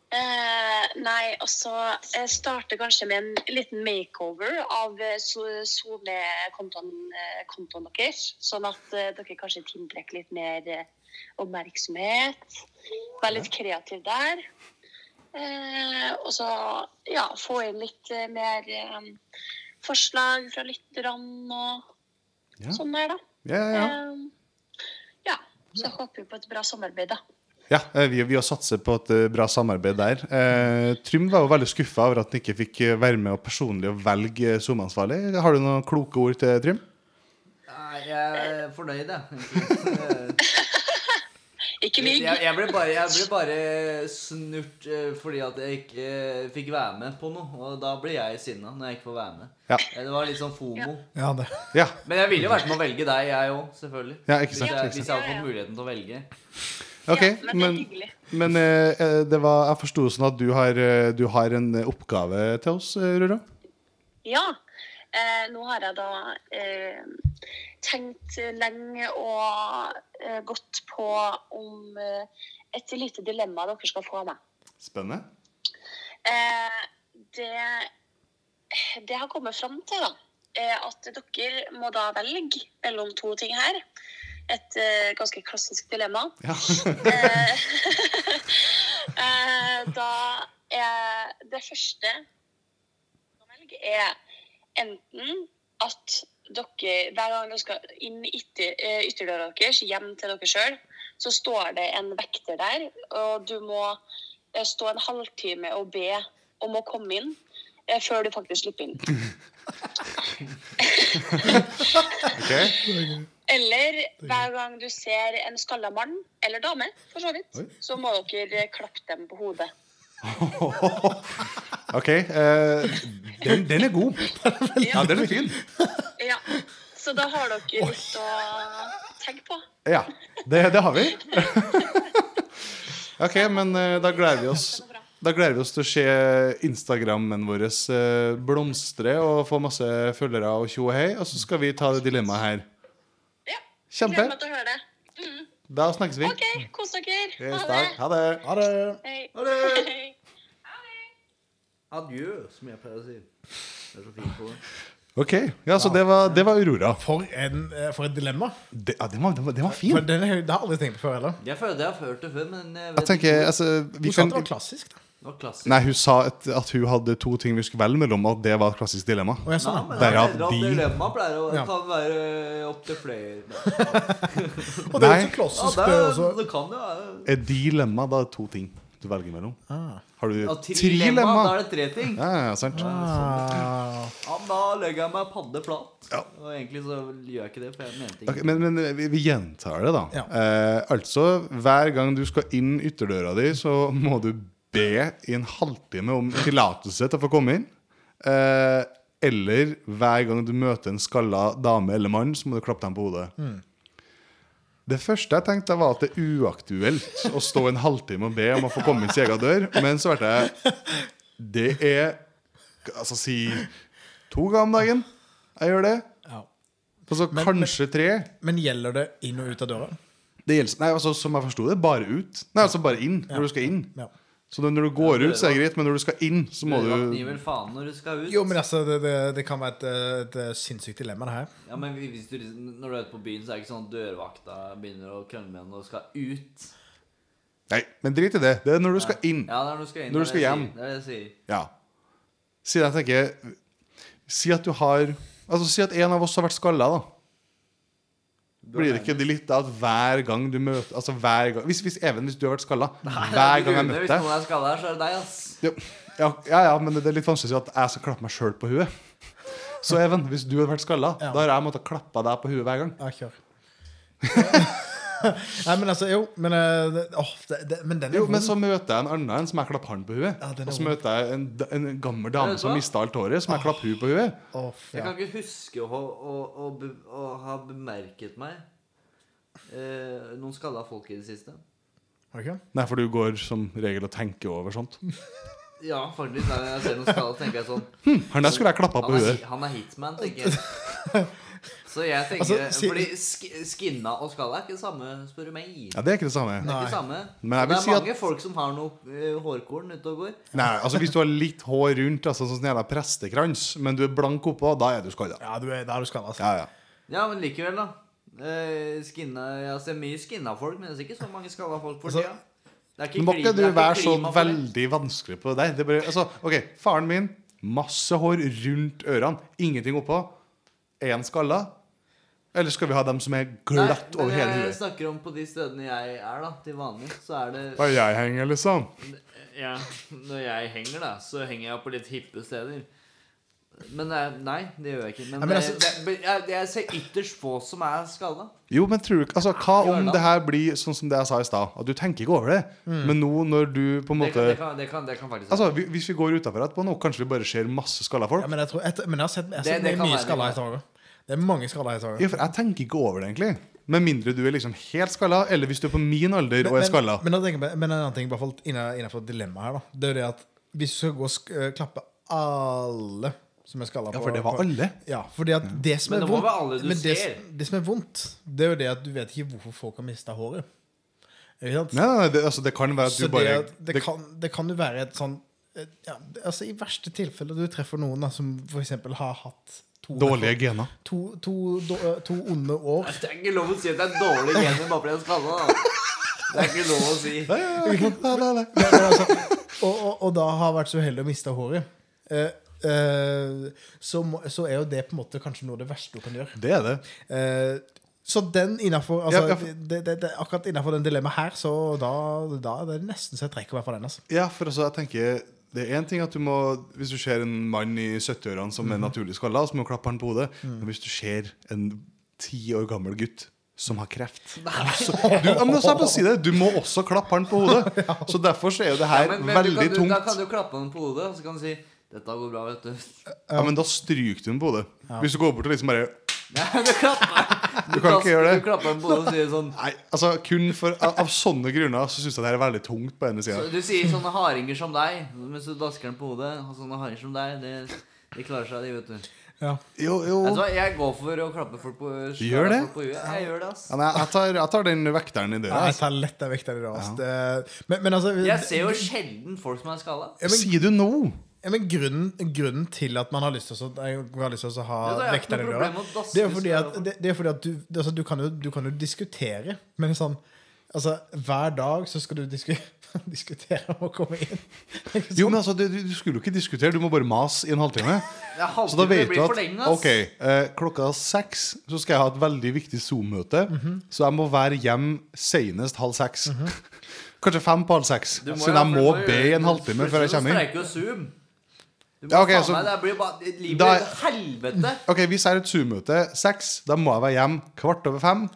Speaker 4: Eh, nei, altså Jeg starter kanskje med en liten makeover av eh, so- SoMe-kontoen eh, kontoen deres. Sånn at eh, dere kanskje tiltrekker litt mer eh, oppmerksomhet. Være litt kreativ der. Eh, og så ja, få inn litt eh, mer eh, forslag fra lytterne og
Speaker 1: Ja.
Speaker 4: sånn der, da.
Speaker 1: Ja, ja, ja.
Speaker 4: Eh, ja. Så jeg håper jo på et bra samarbeid, da.
Speaker 1: Ja, eh, vi, vi har satset på et eh, bra samarbeid der. Eh, Trym var jo veldig skuffa over at han ikke fikk eh, være med og personlig og velge eh, SoMe-ansvarlig. Har du noen kloke ord til Trym?
Speaker 3: Nei, jeg er fornøyd, jeg.
Speaker 4: Ikke
Speaker 3: Jeg,
Speaker 4: mygg.
Speaker 3: jeg, ble bare, jeg ble bare snurt eh, fordi at jeg ikke eh, fikk være med på noe. Og da blir jeg sinna når jeg ikke får være med.
Speaker 1: Ja.
Speaker 3: Eh, Det var litt sånn fomo.
Speaker 2: Ja, det.
Speaker 1: Ja.
Speaker 3: Men jeg ville jo vært med å velge deg, jeg òg, selvfølgelig.
Speaker 1: Ja, ikke sant,
Speaker 3: hvis, jeg,
Speaker 1: ikke
Speaker 3: hvis jeg hadde fått muligheten til å velge.
Speaker 1: Ok,
Speaker 4: Ja, men det er
Speaker 1: men,
Speaker 4: hyggelig.
Speaker 1: men eh, eh, det var, jeg forsto sånn at du har, eh, du har en eh, oppgave til oss, eh, Rura.
Speaker 4: Ja. Eh, nå har jeg da eh, tenkt lenge og eh, gått på om eh, et lite dilemma dere skal få av meg.
Speaker 1: Spennende.
Speaker 4: Eh, det, det har kommet fram til, da, eh, at dere må da velge mellom to ting her. Et eh, ganske klassisk dilemma.
Speaker 1: Ja.
Speaker 4: Eh, eh, da er det første å velge er enten at dere hver gang dere skal inn ytter, eh, ytterdøra deres, hjem til dere sjøl, så står det en vekter der, og du må eh, stå en halvtime og be om å komme inn eh, før du faktisk slipper inn.
Speaker 1: Ok.
Speaker 4: Eller hver gang du ser en skalla mann, eller dame, for så vidt,
Speaker 1: Oi.
Speaker 4: så må dere klappe dem på hodet.
Speaker 1: Ok, eh, den, den er god. Ja, den er fin.
Speaker 4: Ja. Så da har dere litt å tenke på.
Speaker 1: Ja, det, det har vi. ok, men eh, da gleder vi oss Da gleder vi oss til å se Instagrammen vår eh, blomstre og få masse følgere og tjo og hei. Og så skal vi ta det dilemmaet her.
Speaker 4: Ja.
Speaker 1: Kjempe.
Speaker 4: Gleder meg til å høre det.
Speaker 1: Da snakkes vi.
Speaker 4: OK, kos dere.
Speaker 1: Yes,
Speaker 4: Ha
Speaker 1: da.
Speaker 4: det.
Speaker 1: Ha det.
Speaker 2: Ha det.
Speaker 4: Hei.
Speaker 3: Ha det.
Speaker 4: Hei.
Speaker 3: Adjø, som jeg pleier å si. Det er så fint på det.
Speaker 1: Ok, ja, Så det var, det var Aurora.
Speaker 2: For, en, eh, for et dilemma.
Speaker 1: Det, ja, den var, den var, den var
Speaker 2: For
Speaker 1: fin.
Speaker 2: den, er- det har jeg aldri tenkt på før heller.
Speaker 3: Jeg føler jeg har hørt det før, men jeg vet
Speaker 1: Jeg tenker,
Speaker 3: ikke.
Speaker 1: altså vi
Speaker 2: Hun sa at
Speaker 1: kan,
Speaker 2: det var klassisk. da
Speaker 3: Det var klassisk.
Speaker 1: Nei, hun sa at, at hun hadde to ting vi skulle velge mellom, og at det var et klassisk dilemma.
Speaker 2: Og jeg sa det.
Speaker 3: men
Speaker 1: Derav
Speaker 3: derav
Speaker 1: de-
Speaker 3: dilemma pleier å
Speaker 2: Ja.
Speaker 3: kan være opptil flere.
Speaker 2: Og det er jo
Speaker 1: Nei.
Speaker 2: så
Speaker 3: Ja,
Speaker 2: klassisk,
Speaker 3: det,
Speaker 2: det
Speaker 3: er-
Speaker 2: også.
Speaker 3: det kan jo være
Speaker 1: Et dilemma, da er det to ting du velger mellom. Har du
Speaker 3: Ja, trilemma,
Speaker 1: trilemma?
Speaker 3: da er det tre ting.
Speaker 1: Ja, ja, sant.
Speaker 2: Ah.
Speaker 3: Ja, men da legger jeg meg padde flat.
Speaker 1: Ja.
Speaker 3: Og egentlig så gjør jeg ikke det, for jeg mente ikke
Speaker 1: Ok, men, men vi, vi gjentar det, da.
Speaker 2: Ja.
Speaker 1: Eh, altså, hver gang du skal inn ytterdøra di, så må du be i en halvtime om tillatelse til å få komme inn. Eh, eller hver gang du møter en skalla dame eller mann, så må du klappe dem på hodet.
Speaker 2: Mm.
Speaker 1: Det første jeg tenkte, var at det er uaktuelt å stå en halvtime og be om å få komme inn sin egen dør. Men så ble jeg Det er Altså, si to ganger om dagen. Jeg gjør det.
Speaker 2: Ja.
Speaker 1: Altså
Speaker 2: Men-
Speaker 1: kanskje tre.
Speaker 2: Men gjelder det inn og ut av døra?
Speaker 1: Det gjelder, nei, altså Som jeg forsto det, bare ut. Nei, altså bare inn. Når du skal inn.
Speaker 2: Ja.
Speaker 1: Så når du går ut, så er det greit, men når du skal inn, så må du
Speaker 3: Dørvakt gir vel faen når du skal ut.
Speaker 2: Jo, men altså, det, det, det kan være et, et, sinnssykt dilemma, det her.
Speaker 3: Ja, men hvis du, liksom- Når du er ute på byen, så er det ikke sånn at dørvakta begynner å krangle med deg når du skal ut.
Speaker 1: Nei, men drit i det. Det er når du skal inn.
Speaker 3: Ja, det er når du skal inn.
Speaker 1: Når du
Speaker 3: det er det jeg
Speaker 1: skal hjem.
Speaker 3: sier. Det er det jeg sier.
Speaker 1: Ja. Si det, jeg tenker Si at du har Altså Si at en av oss har vært skalla, da. Blir det ikke det litt da at hver gang du møter Altså hver gang Hvis, hvis Even, hvis du har vært skalla hver gang jeg møter
Speaker 3: Hvis
Speaker 1: deg
Speaker 3: noen er skalla her, så er det deg, ass.
Speaker 1: Ja, ja, ja, ja, men det er litt vanskelig å si at jeg skal klappe meg sjøl på huet. Så Even, hvis du hadde vært skalla,
Speaker 2: Ja.
Speaker 1: da har jeg måttet klappe deg på huet hver gang.
Speaker 2: Ja, kjør. Nei, men altså, jo. Men, eh, det, åh, det, det, men den er
Speaker 1: Jo,
Speaker 2: vond.
Speaker 1: men så møter jeg en annen en som jeg klapper hånden på huet.
Speaker 2: Ja, den er
Speaker 1: og så
Speaker 2: vond.
Speaker 1: møter jeg en, da- en gammel dame
Speaker 3: Vet du
Speaker 1: som
Speaker 3: hva?
Speaker 1: mista alt håret, som jeg klapper huet på huet.
Speaker 2: Åh,
Speaker 3: Jeg
Speaker 2: ja.
Speaker 3: kan ikke huske å, å, å, be- å ha bemerket meg eh, noen skalla folk i det siste.
Speaker 2: Har du ikke?
Speaker 1: Nei, for du går som regel og tenker over sånt.
Speaker 3: Ja, faktisk. Når jeg ser noen skalla, tenker jeg sånn
Speaker 1: Han der skulle jeg klappa på
Speaker 3: han er,
Speaker 1: hudet.
Speaker 3: hi- han er hitman, tenker jeg. Så jeg tenker
Speaker 2: Altså, si-
Speaker 3: Fordi sk skinna og skalla er ikke det samme, spør du meg.
Speaker 1: Ja, det er ikke det samme.
Speaker 3: Det er
Speaker 2: Nei.
Speaker 3: ikke samme.
Speaker 1: Men jeg
Speaker 3: det
Speaker 1: vil
Speaker 3: er
Speaker 1: si at-
Speaker 3: mange folk som har noe eh, hårkorn ute og går.
Speaker 1: Nei, altså Hvis du har litt hår rundt, altså sånn som en jævla prestekrans, men du er blank oppå, da er du skalla.
Speaker 2: Ja, du er, der er du skalla. Altså.
Speaker 1: Ja, ja.
Speaker 3: Ja, men likevel, da. Eh, skinna, jeg ser mye skinna folk, men jeg ser ikke så mange skalla folk for
Speaker 2: Altså,
Speaker 3: tida. Det er
Speaker 1: Men må ikke
Speaker 3: klima-
Speaker 1: du
Speaker 3: det er ikke
Speaker 1: være så
Speaker 3: klima for det.
Speaker 1: veldig vanskelig på deg? Det er bare, altså, ok, Faren min, masse hår rundt ørene, ingenting oppå. Er han skalla? Eller skal vi ha dem som er glatt
Speaker 3: Nei,
Speaker 1: over hele
Speaker 3: men Jeg
Speaker 1: huet?
Speaker 3: snakker om på de stedene jeg er, da. Til vanlig. Så er det
Speaker 1: Da jeg henger, liksom.
Speaker 3: Ja, når jeg henger, da, så henger jeg på litt hippe steder. Men det er- nei, det gjør jeg ikke. Men,
Speaker 2: Nei, men
Speaker 3: det-
Speaker 2: altså-
Speaker 3: det, men jeg, jeg ser ytterst få som er skalla.
Speaker 1: Jo, men tror du ikke Altså, Hva om
Speaker 3: Gjør det.
Speaker 1: det her blir sånn som det jeg sa i stad? At du tenker ikke over det. Men nå når du på en
Speaker 3: Det,
Speaker 1: måte
Speaker 3: kan- det, kan- det, kan- det kan faktisk
Speaker 1: Altså, vi- Hvis vi går utafor etterpå nå, kanskje vi bare ser masse skalla folk?
Speaker 2: Ja, men, jeg tror, etter, men jeg har sett, jeg har
Speaker 3: Det-
Speaker 2: sett
Speaker 3: det kan
Speaker 2: mye
Speaker 3: være-
Speaker 2: skalla hettere. Det er mange skalla hettere.
Speaker 1: Ja, for jeg tenker ikke over det, egentlig. Med mindre du er liksom helt skalla, eller hvis du er på min alder og er skalla.
Speaker 2: Men, men, da tenker jeg på- men en annen ting i hvert fall inne- innenfor dilemmaet her, da. Det er jo det at hvis du skal gå og sk øh, klappe alle som er skalla
Speaker 1: Ja, for det var alle.
Speaker 2: Ja, fordi at det som
Speaker 3: Men
Speaker 2: er
Speaker 3: det må
Speaker 2: vondt
Speaker 3: være alle du
Speaker 2: men det,
Speaker 3: ser.
Speaker 2: som- det som er vondt, det er jo det at du vet ikke hvorfor folk har mista håret. Ikke sant?
Speaker 1: Nei, nei, nei det, altså, det kan være at
Speaker 2: Så
Speaker 1: du bare
Speaker 2: det, det, kan, det kan jo være et sånn eh, ja, det- altså I verste tilfelle du treffer noen da, som f.eks. har hatt to,
Speaker 1: Dårlige gener.
Speaker 2: to, to, då- to onde år.
Speaker 3: Det er ikke lov å si at det er dårlige gener bare fordi jeg er skalla. da. Det er ikke lov å si.
Speaker 1: Nei,
Speaker 2: Men altså, og, og, og da har vært så uheldig å miste håret. Eh, eh, så, må, så er jo det på en måte kanskje noe av det verste du kan gjøre.
Speaker 1: Det er det.
Speaker 2: Eh, så den innafor altså,
Speaker 1: Ja, ja, for-
Speaker 2: det, det, det, Akkurat innafor den dilemmaet her, så da, da er det nesten så jeg trekker meg fra den. Altså.
Speaker 1: Ja, for altså, jeg tenker det er én ting at du må Hvis du ser en mann i 70-årene som
Speaker 3: Mhm.
Speaker 1: er naturlig skalla, så må du klappe han på hodet.
Speaker 3: Mm.
Speaker 1: Men hvis du ser en ti år gammel gutt som har kreft så, du, ja, men altså, jeg må si det, du må også klappe han på hodet. Så derfor så er jo det her
Speaker 3: Ja, men- men du
Speaker 1: veldig
Speaker 3: kan, du, Da
Speaker 1: tungt.
Speaker 3: kan du klappe den på hodet, og så kan du si 'Dette går bra, vet du'.
Speaker 1: Ja, Men da stryker du ham på hodet. Hvis du går bort og liksom bare
Speaker 3: Nei, du klapper
Speaker 1: Du kan ikke gjøre det.
Speaker 3: Du klapper den på hodet og sier sånn
Speaker 1: Nei, altså kun for, av, av sånne grunner så syns jeg det her er veldig tungt på ene sida.
Speaker 3: Så Du sier sånne hardinger som deg, mens du dasker den på hodet. Og sånne hardinger som deg, det, de klarer seg, de, vet du.
Speaker 2: Ja.
Speaker 1: Jo, jo.
Speaker 3: Vet du hva, jeg går for å klappe folk på slappe
Speaker 1: gjør det?
Speaker 3: folk På huet. Jeg gjør det, ass.
Speaker 1: Ja, nei, jeg, tar, jeg tar den vekteren i
Speaker 2: Ja,
Speaker 1: døra.
Speaker 2: jeg
Speaker 1: Altså.
Speaker 2: tar lett den vekta i dag. Altså. Det- Men, men altså
Speaker 3: Jeg ser jo sjelden folk som er skalla.
Speaker 2: Ja, men-
Speaker 1: Sier du nå?
Speaker 2: Ja, men grunnen, grunnen til at man har lyst til å, jeg har lyst til å ha
Speaker 3: Ja, det er ikke
Speaker 2: vekta
Speaker 3: noe
Speaker 2: i døra,
Speaker 3: problem å daske
Speaker 2: det er jo fordi
Speaker 3: seg
Speaker 2: at,
Speaker 3: over.
Speaker 2: det, det er fordi at du, det, altså, du, kan jo, du kan jo diskutere, men sånn altså, Hver dag så skal du disku, diskutere om å komme inn.
Speaker 1: Jo, men altså, du, du du skulle jo ikke diskutere, du må bare mase i en halvtime.
Speaker 3: Det er
Speaker 1: Så da
Speaker 3: halvtime, det
Speaker 1: vet du
Speaker 3: blir
Speaker 1: at
Speaker 3: for lenge, ass.
Speaker 1: ok, eh, klokka seks så skal jeg ha et veldig viktig Zoom-møte,
Speaker 3: Mhm.
Speaker 1: så jeg må være hjem senest halv seks. Kanskje fem på halv seks,
Speaker 3: Du
Speaker 1: siden
Speaker 3: ja,
Speaker 1: jeg
Speaker 3: for
Speaker 1: må
Speaker 3: du gjøre
Speaker 1: be
Speaker 3: det.
Speaker 1: en halvtime før jeg
Speaker 3: Plutselig
Speaker 1: kommer inn.
Speaker 3: streiker jo Zoom. Du må
Speaker 1: Ja, ok,
Speaker 3: faen
Speaker 1: så-
Speaker 3: meg, det blir bare Livet
Speaker 1: Da-
Speaker 3: blir et helvete.
Speaker 1: Ok, Hvis jeg har et Zoom-møte seks, da må jeg være hjem kvart over fem.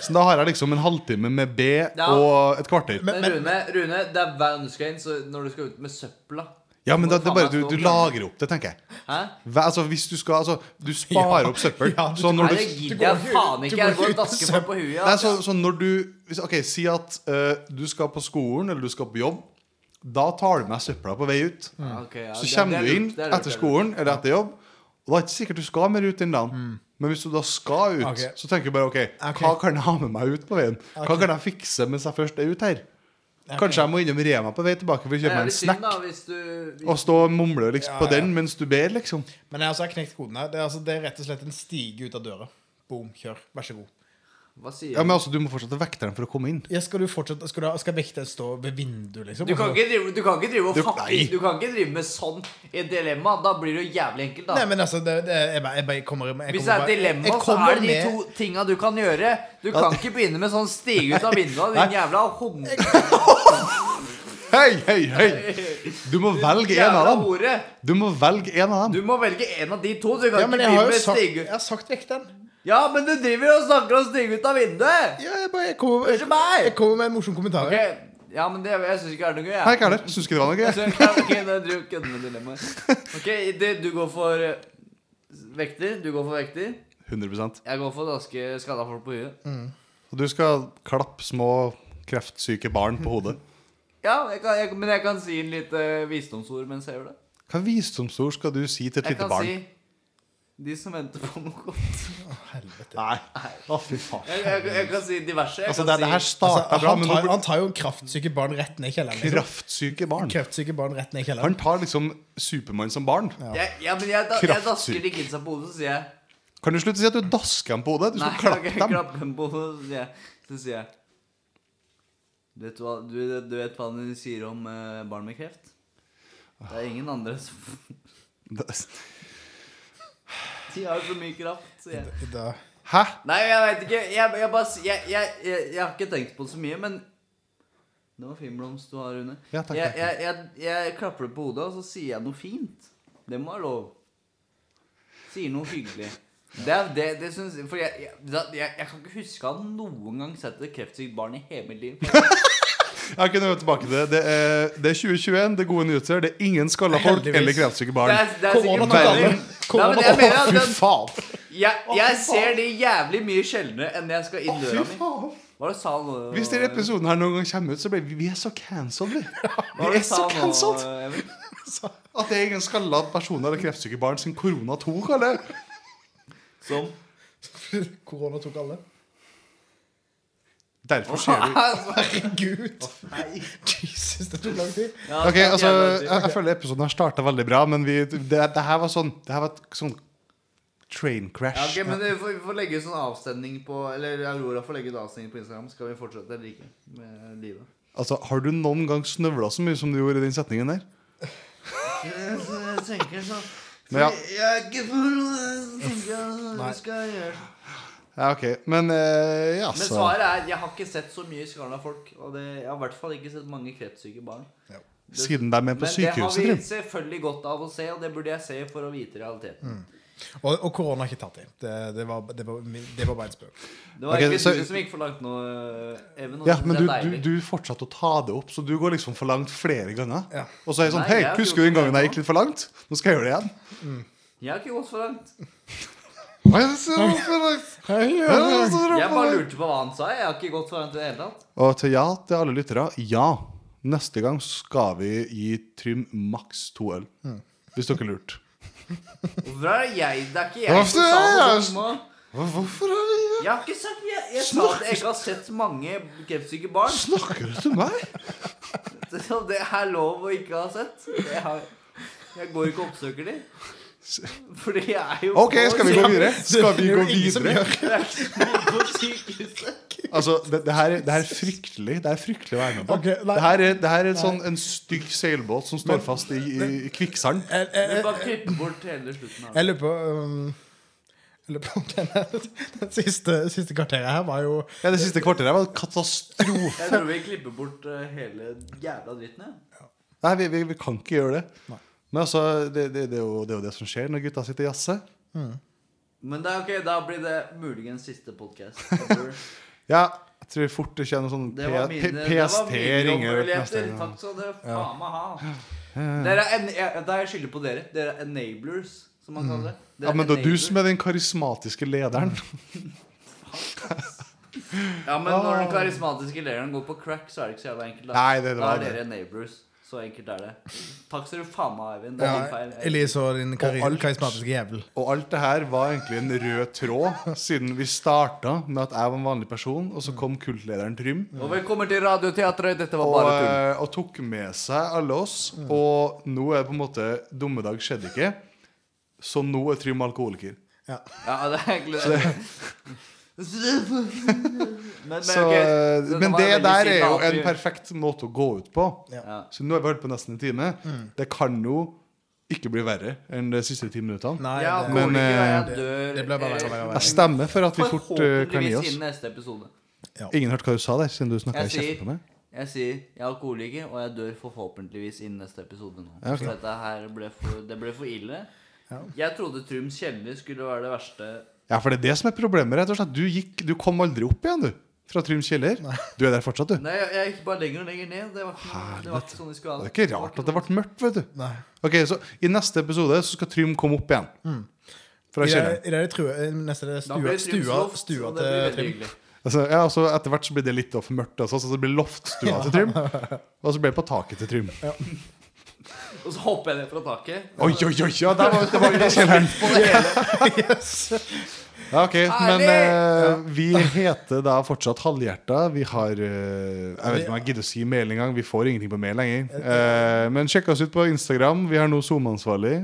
Speaker 1: Så da har jeg liksom en halvtime med B
Speaker 3: Ja.
Speaker 1: og et kvarter.
Speaker 2: Men-
Speaker 3: Men, Rune, Rune, det er vanskegame, så når du skal ut med søpla
Speaker 1: ja, men
Speaker 3: så
Speaker 1: da,
Speaker 3: må
Speaker 1: det er
Speaker 3: faen
Speaker 1: bare
Speaker 3: meg
Speaker 1: du,
Speaker 3: stå
Speaker 1: du
Speaker 3: og klemme.
Speaker 1: lager opp det, tenker jeg.
Speaker 3: Hæ?
Speaker 1: Hva- Altså, hvis Du skal, altså, du sparer opp søppel.
Speaker 2: Ja, du-
Speaker 1: så
Speaker 3: Nei,
Speaker 1: når
Speaker 3: det
Speaker 1: du
Speaker 3: gidder
Speaker 2: går
Speaker 3: jeg
Speaker 2: jo-
Speaker 3: faen
Speaker 2: du går
Speaker 3: ikke. Jeg
Speaker 2: jo
Speaker 3: går
Speaker 2: ut
Speaker 3: og dasker
Speaker 2: med
Speaker 3: folk på huet.
Speaker 1: Nei,
Speaker 3: ass.
Speaker 1: så, så når du hvis, Ok, si at eh, du skal på skolen Eller du skal på jobb Da tar du med søpla på vei ut
Speaker 3: Ja, ok, ja,
Speaker 1: Så
Speaker 3: det- det
Speaker 1: kommer
Speaker 3: er
Speaker 1: du inn
Speaker 3: lurt, det er lurt,
Speaker 1: etter
Speaker 3: det er lurt.
Speaker 1: skolen Eller etter jobb Og da er det ikke sikkert du skal mer ut den dagen Men hvis du da skal ut
Speaker 2: Mm. Ok.
Speaker 1: Så tenker du bare, ok, hva kan jeg ha med meg ut på veien? Hva kan jeg fikse mens jeg først er ut her? Kanskje jeg må innom Rema på vei tilbake For å
Speaker 3: Det
Speaker 1: kjøpe
Speaker 3: er
Speaker 1: meg
Speaker 3: litt
Speaker 1: en
Speaker 3: synd,
Speaker 1: snack
Speaker 3: da, hvis du hvis,
Speaker 1: Og stå og mumle liksom,
Speaker 2: Ja,
Speaker 1: på
Speaker 2: ja.
Speaker 1: den mens du ber liksom
Speaker 2: Men jeg altså, har knekt koden her. Det er, altså, det er rett og slett en stige ut av døra. Boom, kjør. Vær så god.
Speaker 3: Hva sier
Speaker 1: Ja, men altså, du må fortsette vekteren for å komme inn
Speaker 2: Ja, skal du fortsette, skal, du, ha- skal vekteren stå ved vinduet, liksom?
Speaker 3: Du kan
Speaker 2: Altså-
Speaker 3: ikke drive, du kan ikke drive og
Speaker 1: Du-
Speaker 3: fucke
Speaker 1: nei.
Speaker 3: Du kan ikke drive med sånn i et dilemma. Da blir det jo jævlig enkelt, da.
Speaker 2: Nei, men altså, det, det, jeg, bare, jeg bare kommer jeg kommer
Speaker 3: Hvis det er
Speaker 2: bare-
Speaker 3: et dilemma,
Speaker 2: jeg
Speaker 3: så
Speaker 2: kommer
Speaker 3: er det de
Speaker 2: med-
Speaker 3: to tinga du kan gjøre. Du kan ikke begynne med sånn stige ut av vinduet, din jævla hore.
Speaker 1: Hei, hei, hei Du må velge en av
Speaker 3: Jævla
Speaker 1: dem
Speaker 3: hore.
Speaker 1: Du må velge en av dem
Speaker 3: Du må velge en av de to. Du kan
Speaker 2: Ja,
Speaker 3: ikke
Speaker 2: men jeg har
Speaker 3: begynne
Speaker 2: jo
Speaker 3: med
Speaker 2: sagt,
Speaker 3: stige
Speaker 2: jeg har sagt vekteren.
Speaker 3: Ja, men du driver og snakker og stiger ut av vinduet!
Speaker 2: Ja, jeg, bare, jeg, kommer,
Speaker 3: Ikke
Speaker 2: jeg,
Speaker 3: meg!
Speaker 2: jeg kommer med en morsom kommentar.
Speaker 3: Ok, Ja, men det, jeg syns ikke det er noe gøy.
Speaker 1: Nei,
Speaker 3: jeg.
Speaker 1: ikke heller. Syns ikke det var noe
Speaker 3: Jeg
Speaker 1: gøy.
Speaker 3: synes- ja, Ok, da driver jeg og kødder med dilemmaet. Ok, det, du går for eh, vekter. Du går for vekter.
Speaker 1: 100
Speaker 3: Jeg går for ganske skada folk på huet.
Speaker 1: Og du skal klappe små kreftsyke barn på hodet.
Speaker 3: Ja, jeg kan, jeg, men jeg kan si en lite eh, visdomsord mens jeg gjør det.
Speaker 1: Hva visdomsord skal du si til et
Speaker 3: Jeg
Speaker 1: lite
Speaker 3: kan
Speaker 1: barn?
Speaker 3: si de som venter på noe godt.
Speaker 2: Helvete.
Speaker 1: Nei. Å, fy faen.
Speaker 3: Jeg, jeg, jeg kan si diverse. Jeg
Speaker 1: Altså,
Speaker 3: kan
Speaker 1: det, det her
Speaker 3: si,
Speaker 2: Altså,
Speaker 1: starta bra,
Speaker 2: han,
Speaker 1: men nå
Speaker 2: tar,
Speaker 1: blir
Speaker 2: han tar jo kraftsyke barn rett ned i kjelleren.
Speaker 1: det
Speaker 2: Liksom.
Speaker 1: kraftsyke barn.
Speaker 2: Kreftsyke barn rett ned i
Speaker 1: Han
Speaker 2: kjelleren.
Speaker 1: tar liksom Supermann som barn.
Speaker 3: jeg, ja, men jeg, da, jeg
Speaker 1: Kraftsyk.
Speaker 3: dasker de kidsa på hodet, så sier jeg
Speaker 1: Kan du slutte å si at du dasker dem på hodet? Du
Speaker 3: Nei,
Speaker 1: skal
Speaker 3: jeg
Speaker 1: klappe
Speaker 3: kan ikke
Speaker 1: dem.
Speaker 3: klappe dem på hodet, så sier jeg, så sier jeg Vet du hva, du, du vet hva de sier om eh, barn med kreft? Det er ingen andre som De har så mye kraft, sier jeg.
Speaker 2: Da,
Speaker 1: Hæ?
Speaker 3: Nei, jeg veit ikke. Jeg, jeg bare s- jeg, jeg, jeg, jeg har ikke tenkt på det så mye, men Det var fin blomst du har, Rune.
Speaker 1: Ja, takk,
Speaker 3: jeg,
Speaker 1: takk,
Speaker 3: jeg, jeg, jeg klapper det på hodet, og så sier jeg noe fint. Det må være lov. Sier noe hyggelig. Det er det, det syns For jeg, jeg, da- jeg, jeg kan ikke huske å ha noen gang sett et kreftsykt barn i hele mitt liv.
Speaker 1: Jeg kunne gått tilbake til det. Det er, det er 2021, det er gode nyheter. Det er ingen skalla folk
Speaker 2: Heldigvis.
Speaker 1: eller kreftsyke
Speaker 3: Det
Speaker 1: barn.
Speaker 3: er, det er
Speaker 2: Kom
Speaker 3: sikkert
Speaker 2: an, da,
Speaker 3: mange
Speaker 2: Kalle. Kom
Speaker 3: Nei,
Speaker 2: an,
Speaker 3: men jeg
Speaker 2: da.
Speaker 3: mener at
Speaker 1: Fy
Speaker 3: den,
Speaker 1: faen!
Speaker 3: jeg, jeg ser de jævlig mye sjeldnere enn jeg skal inn
Speaker 1: Fy
Speaker 3: døra mi.
Speaker 1: faen.
Speaker 3: Hva var det du sa nå?
Speaker 1: Hvis denne episoden her noen gang kommer ut, så blir vi, vi er så cancelled, vi.
Speaker 3: Hva var
Speaker 1: Vi er
Speaker 3: det du
Speaker 1: så
Speaker 3: sa nå,
Speaker 1: cancelled
Speaker 3: Emil?
Speaker 1: at det er ingen skalla personer eller kreftsyke barn sin korona 2, kaller jeg.
Speaker 3: Som
Speaker 2: korona tok alle.
Speaker 1: Derfor ser du
Speaker 2: Herregud! Jesus, det tok lang tid.
Speaker 3: Ja,
Speaker 1: Ok, altså, jeg,
Speaker 3: jævla dyrt.
Speaker 1: jeg føler episoden har starta veldig bra, men vi, det, det her var sånn Det her var et sånn train
Speaker 3: ja,
Speaker 1: crash.
Speaker 3: ok, men vi får, vi får legge sånn avstemning på Eller Aurora får legge ut avstemning på Instagram. Skal vi fortsette eller ikke med livet?
Speaker 1: Altså, Har du noen gang snøvla så mye som du gjorde i den setningen der?
Speaker 3: Jeg, jeg tenker sånn
Speaker 1: Men ja.
Speaker 3: Jeg er ikke for noe skal gjøre sånn.
Speaker 1: Ja, ok. Men eh, ja,
Speaker 3: Men
Speaker 1: så
Speaker 3: svaret er jeg har ikke sett så mye skalla folk. Og det, jeg har i hvert fall ikke sett mange kreftsyke barn.
Speaker 1: Siden de er med på
Speaker 3: Men det har
Speaker 1: sykehuset,
Speaker 3: vi
Speaker 1: Trym.
Speaker 3: selvfølgelig godt av å se, og det burde jeg se for å vite realiteten.
Speaker 1: Mm.
Speaker 2: Og, og korona har ikke tatt i. Det, det, var, det, var, det var bare en spøk.
Speaker 3: Det var
Speaker 1: Ok,
Speaker 3: egentlig
Speaker 1: så-
Speaker 3: du som gikk for langt nå, Even. og
Speaker 1: Ja,
Speaker 3: det synes
Speaker 1: men
Speaker 3: jeg
Speaker 1: du, du,
Speaker 3: er deilig.
Speaker 1: du fortsatte å ta det opp, så du går liksom for langt flere ganger.
Speaker 2: Ja.
Speaker 1: Og så er jeg sånn
Speaker 3: Nei,
Speaker 1: Hei,
Speaker 3: jeg har ikke
Speaker 1: husker du
Speaker 3: gjort
Speaker 1: den gangen
Speaker 3: det
Speaker 1: jeg gikk litt for langt? Nå skal jeg gjøre det igjen.
Speaker 3: Jeg har ikke gått for langt.
Speaker 1: Hva er det som er for langt? Hva er
Speaker 2: altså,
Speaker 1: det som er
Speaker 3: Jeg
Speaker 1: for
Speaker 3: bare
Speaker 1: langt?
Speaker 3: lurte på hva han sa. Jeg har ikke gått for langt i det hele tatt.
Speaker 1: Og til ja til alle lyttere. Ja, neste gang skal vi gi Trym maks to øl. Hvis dere lurte.
Speaker 3: Hvorfor er det jeg? Det er ikke jeg
Speaker 1: Hvorfor
Speaker 3: som sa
Speaker 1: er
Speaker 3: det
Speaker 1: jeg-
Speaker 3: dumme.
Speaker 1: Hvorfor er det
Speaker 3: Jeg har ikke sagt Jeg, jeg sa at jeg ikke har sett mange kreftsyke barn.
Speaker 1: Snakker du til meg?
Speaker 3: Så det er lov å ikke ha sett. Jeg, har, jeg går ikke og oppsøker de. Fordi jeg er jo
Speaker 1: OK, skal vi gå videre? Skal vi
Speaker 2: Det er
Speaker 1: gå
Speaker 2: jo ingen som
Speaker 1: videre?
Speaker 2: gjør.
Speaker 3: på sykehuset.
Speaker 1: Altså, det, det, her, det her er fryktelig Det er fryktelig å være med på.
Speaker 2: Ok, nei.
Speaker 1: det her er, det her er en sånn, en stygg seilbåt som står fast i, i, i kvikksand.
Speaker 2: Jeg, jeg,
Speaker 3: Du
Speaker 2: jeg,
Speaker 3: bare klipper bort hele slutten av det.
Speaker 2: jeg lurer på um, Jeg lurer på om denne, den siste, siste kvarteret her var jo
Speaker 1: Ja, Det siste kvarteret var en katastrofe.
Speaker 3: Jeg tror vi klipper bort eh, hele jævla dritten, jeg.
Speaker 1: Nei, vi, vi, vi kan ikke gjøre det.
Speaker 2: Nei.
Speaker 1: Men altså, det, det, det, er jo, det er jo det som skjer når gutta sitter og jazzer.
Speaker 3: Men det er ok, da blir det muligens siste podkast. Det
Speaker 1: Ja, jeg tror fort det kommer sånn P
Speaker 3: var
Speaker 1: P-
Speaker 3: mine, det var
Speaker 1: PST
Speaker 3: mine
Speaker 1: ringer ut neste
Speaker 3: jobbmuligheter.
Speaker 1: gang.
Speaker 3: Takk skal dere faen meg ha. Dere er en, jeg, da er jeg skyldig på dere. Dere er enablers, som man kaller det. Dere
Speaker 1: Mm. Ja, men det er du
Speaker 3: enablers.
Speaker 1: som er den karismatiske lederen.
Speaker 3: Ja, men når den karismatiske lederen går på crack, så er det ikke så jævla enkelt. Da,
Speaker 1: Ah. Nei, det- det
Speaker 3: da
Speaker 1: var
Speaker 3: er
Speaker 1: det.
Speaker 3: dere enablers. Så enkelt er det. Takk skal du faen meg, Eivind. Det
Speaker 2: ja,
Speaker 3: er din feil.
Speaker 2: Elise og din kari-
Speaker 1: Og alt.
Speaker 2: karismatiske jævel.
Speaker 1: Og alt det her var egentlig en rød tråd, siden vi starta med at jeg var en vanlig person, og så kom kultlederen Trym.
Speaker 3: Og velkommen til Radioteatret. Dette var
Speaker 1: Og,
Speaker 3: bare tull. Mm.
Speaker 1: eh, og tok med seg alle oss. Og nå er det på en måte Dummedag skjedde ikke. Så nå er Trym alkoholiker.
Speaker 3: Ja, det er egentlig men, men,
Speaker 1: Så,
Speaker 3: ok,
Speaker 1: eh,
Speaker 3: så
Speaker 1: men
Speaker 3: var
Speaker 1: det
Speaker 3: veldig
Speaker 1: der er
Speaker 3: sykt
Speaker 1: jo
Speaker 3: at
Speaker 1: en
Speaker 3: vi-
Speaker 1: perfekt måte å gå ut på.
Speaker 3: ja. Mm.
Speaker 1: Så nå har vi holdt på nesten en time. Det kan jo ikke bli verre enn de siste ti minuttene.
Speaker 2: Nei,
Speaker 3: Ja,
Speaker 2: det,
Speaker 1: men, eh,
Speaker 3: men, jeg
Speaker 2: det-
Speaker 3: dør
Speaker 2: det ble bare verre og verre og verre.
Speaker 1: Jeg stemmer for at vi
Speaker 3: eh,
Speaker 1: fort eh, kan gi
Speaker 3: Forhåpentligvis
Speaker 1: oss.
Speaker 3: innen neste episode.
Speaker 1: Ingen hørte hva du sa der, siden du snakka
Speaker 3: Jeg
Speaker 1: i kjeften på
Speaker 3: sier,
Speaker 1: meg.
Speaker 3: jeg sier jeg er alkoholiker, og jeg dør forhåpentligvis innen neste episode nå.
Speaker 1: Ja, ok.
Speaker 3: Så dette her ble for, det ble for ille. Jeg trodde Trums kjeller skulle være det verste
Speaker 1: Ja, for det er det som er problemet. rett og slett. Du, gikk, du kom aldri opp igjen, du. Fra Tryms kjeller. Du er der fortsatt, du.
Speaker 3: Nei, jeg, jeg gikk bare lenger og lenger ned. Det var ikke, det var ikke sånn vi skulle ha
Speaker 1: Det er ikke rart at det ble mørkt, vet du.
Speaker 2: Nei.
Speaker 1: Ok, så I neste episode så skal Trym komme opp igjen. Fra
Speaker 2: I det,
Speaker 1: kjelleren.
Speaker 2: i det true, eh, neste er det
Speaker 3: Da blir
Speaker 2: stua,
Speaker 3: det
Speaker 2: stua,
Speaker 3: Trymsloft,
Speaker 2: stua
Speaker 3: og
Speaker 2: til
Speaker 3: det blir veldig
Speaker 2: Trym.
Speaker 3: hyggelig.
Speaker 1: Altså, ja, og så Etter hvert så blir det litt for mørkt, altså, så det blir loftstua til Trym. Og så blir det på taket til Trym.
Speaker 3: Og så hopper jeg ned fra taket.
Speaker 1: Oi, oi, oi! Ja, der var, det var jo i kjelleren. Ja, ok, Men eh, vi heter da fortsatt Halvhjerta. Vi har eh, Jeg vet ikke om jeg gidder å si mail engang. Vi får ingenting på mail lenger. Eh, men sjekk oss ut på Instagram. Vi har nå SoMe-ansvarlig.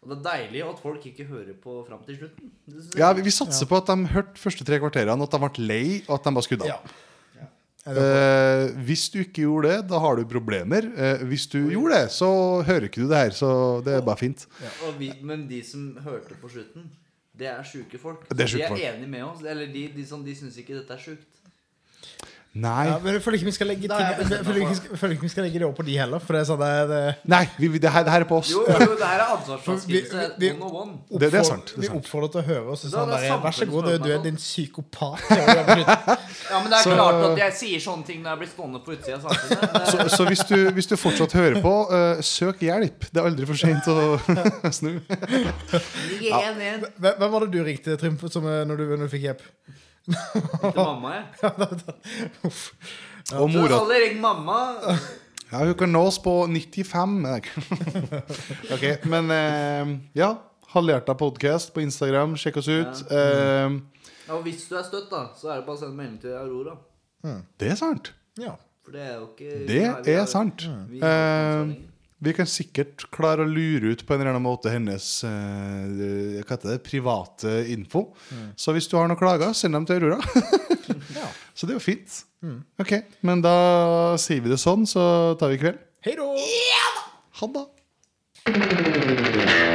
Speaker 3: Og det er deilig at folk ikke hører på fram til slutten. Det synes jeg.
Speaker 1: Ja, vi, vi satser på at de hørte første tre kvarterene, at de ble lei, og at de bare skrudde av.
Speaker 2: Ja.
Speaker 1: Eh, hvis du ikke gjorde det, da har du problemer. Eh, hvis du gjorde det, så hører ikke du det her. Så det er bare fint.
Speaker 3: Og vi, men de som hørte på slutten, det er sjuke folk.
Speaker 1: Det er
Speaker 3: Så
Speaker 1: sjuke
Speaker 3: de er
Speaker 1: folk.
Speaker 3: enige med oss. Eller de, de, som- de syns ikke dette er sjukt.
Speaker 1: Nei.
Speaker 2: Ja, men jeg føler ikke vi skal legge ting,
Speaker 3: Da er jeg
Speaker 2: jeg
Speaker 3: bestemt
Speaker 2: føler ikke,
Speaker 3: meg
Speaker 2: vi skal- jeg føler ikke vi skal legge det over på de heller. For det er sånn det, det,
Speaker 1: Nei vi, vi- det, her, det her er på oss.
Speaker 3: Jo, jo, det her er
Speaker 2: ansvarsfraskrivelse,
Speaker 3: ansvarsfraskrivelse.
Speaker 2: Vi- vi- vi-
Speaker 3: One on one.
Speaker 1: Det- det er
Speaker 2: oppfordrer-
Speaker 1: sant, det er
Speaker 2: vi
Speaker 1: sant.
Speaker 2: oppfordrer til å høre oss. og Sånn,
Speaker 3: Da er det
Speaker 2: bare, Vær så
Speaker 3: samfunnet
Speaker 2: god,
Speaker 3: som
Speaker 2: du,
Speaker 3: er
Speaker 2: du er
Speaker 3: med
Speaker 2: din psykopat. Ja, vi har brutt-
Speaker 3: Ja, men det er
Speaker 1: Så-
Speaker 3: klart at jeg sier sånne ting når jeg blir stående på utsida av samfunnet. Det-
Speaker 1: Eh, Så, så hvis, du, hvis du fortsatt hører på, eh, søk hjelp. Det er aldri for sent å snu.
Speaker 3: Igjen, igjen.
Speaker 2: Hvem hvem var det du ringte, Trym, som, eh, når du, når du fikk hjelp?
Speaker 3: Til mamma, jeg.
Speaker 2: Uff.
Speaker 1: Og
Speaker 3: Så
Speaker 1: mora
Speaker 3: alle ring mamma.
Speaker 1: ja, Hun kan nås på 95. Nei. Ok, Men eh, ja. Halvhjerta podcast på Instagram. Sjekk oss ut. Eh,
Speaker 3: Ja, og hvis du er støtt, da, så er det bare å sende melding til Aurora.
Speaker 1: det er sant.
Speaker 2: Ja.
Speaker 3: For det er jo ikke
Speaker 1: Det
Speaker 3: vi
Speaker 1: er
Speaker 3: har-
Speaker 1: sant.
Speaker 3: vi har ikke
Speaker 1: Eh,
Speaker 3: noe sånn lenger.
Speaker 1: vi kan sikkert klare å lure ut på en eller annen måte hennes eh, hva heter det, private info.
Speaker 3: Mm.
Speaker 1: Så hvis du har noen klager, send dem til Aurora.
Speaker 2: ja.
Speaker 1: så det er jo fint.
Speaker 3: Mm.
Speaker 1: Ok, Men da sier vi det sånn, så tar vi kveld.
Speaker 2: Hei da!
Speaker 1: Ha det.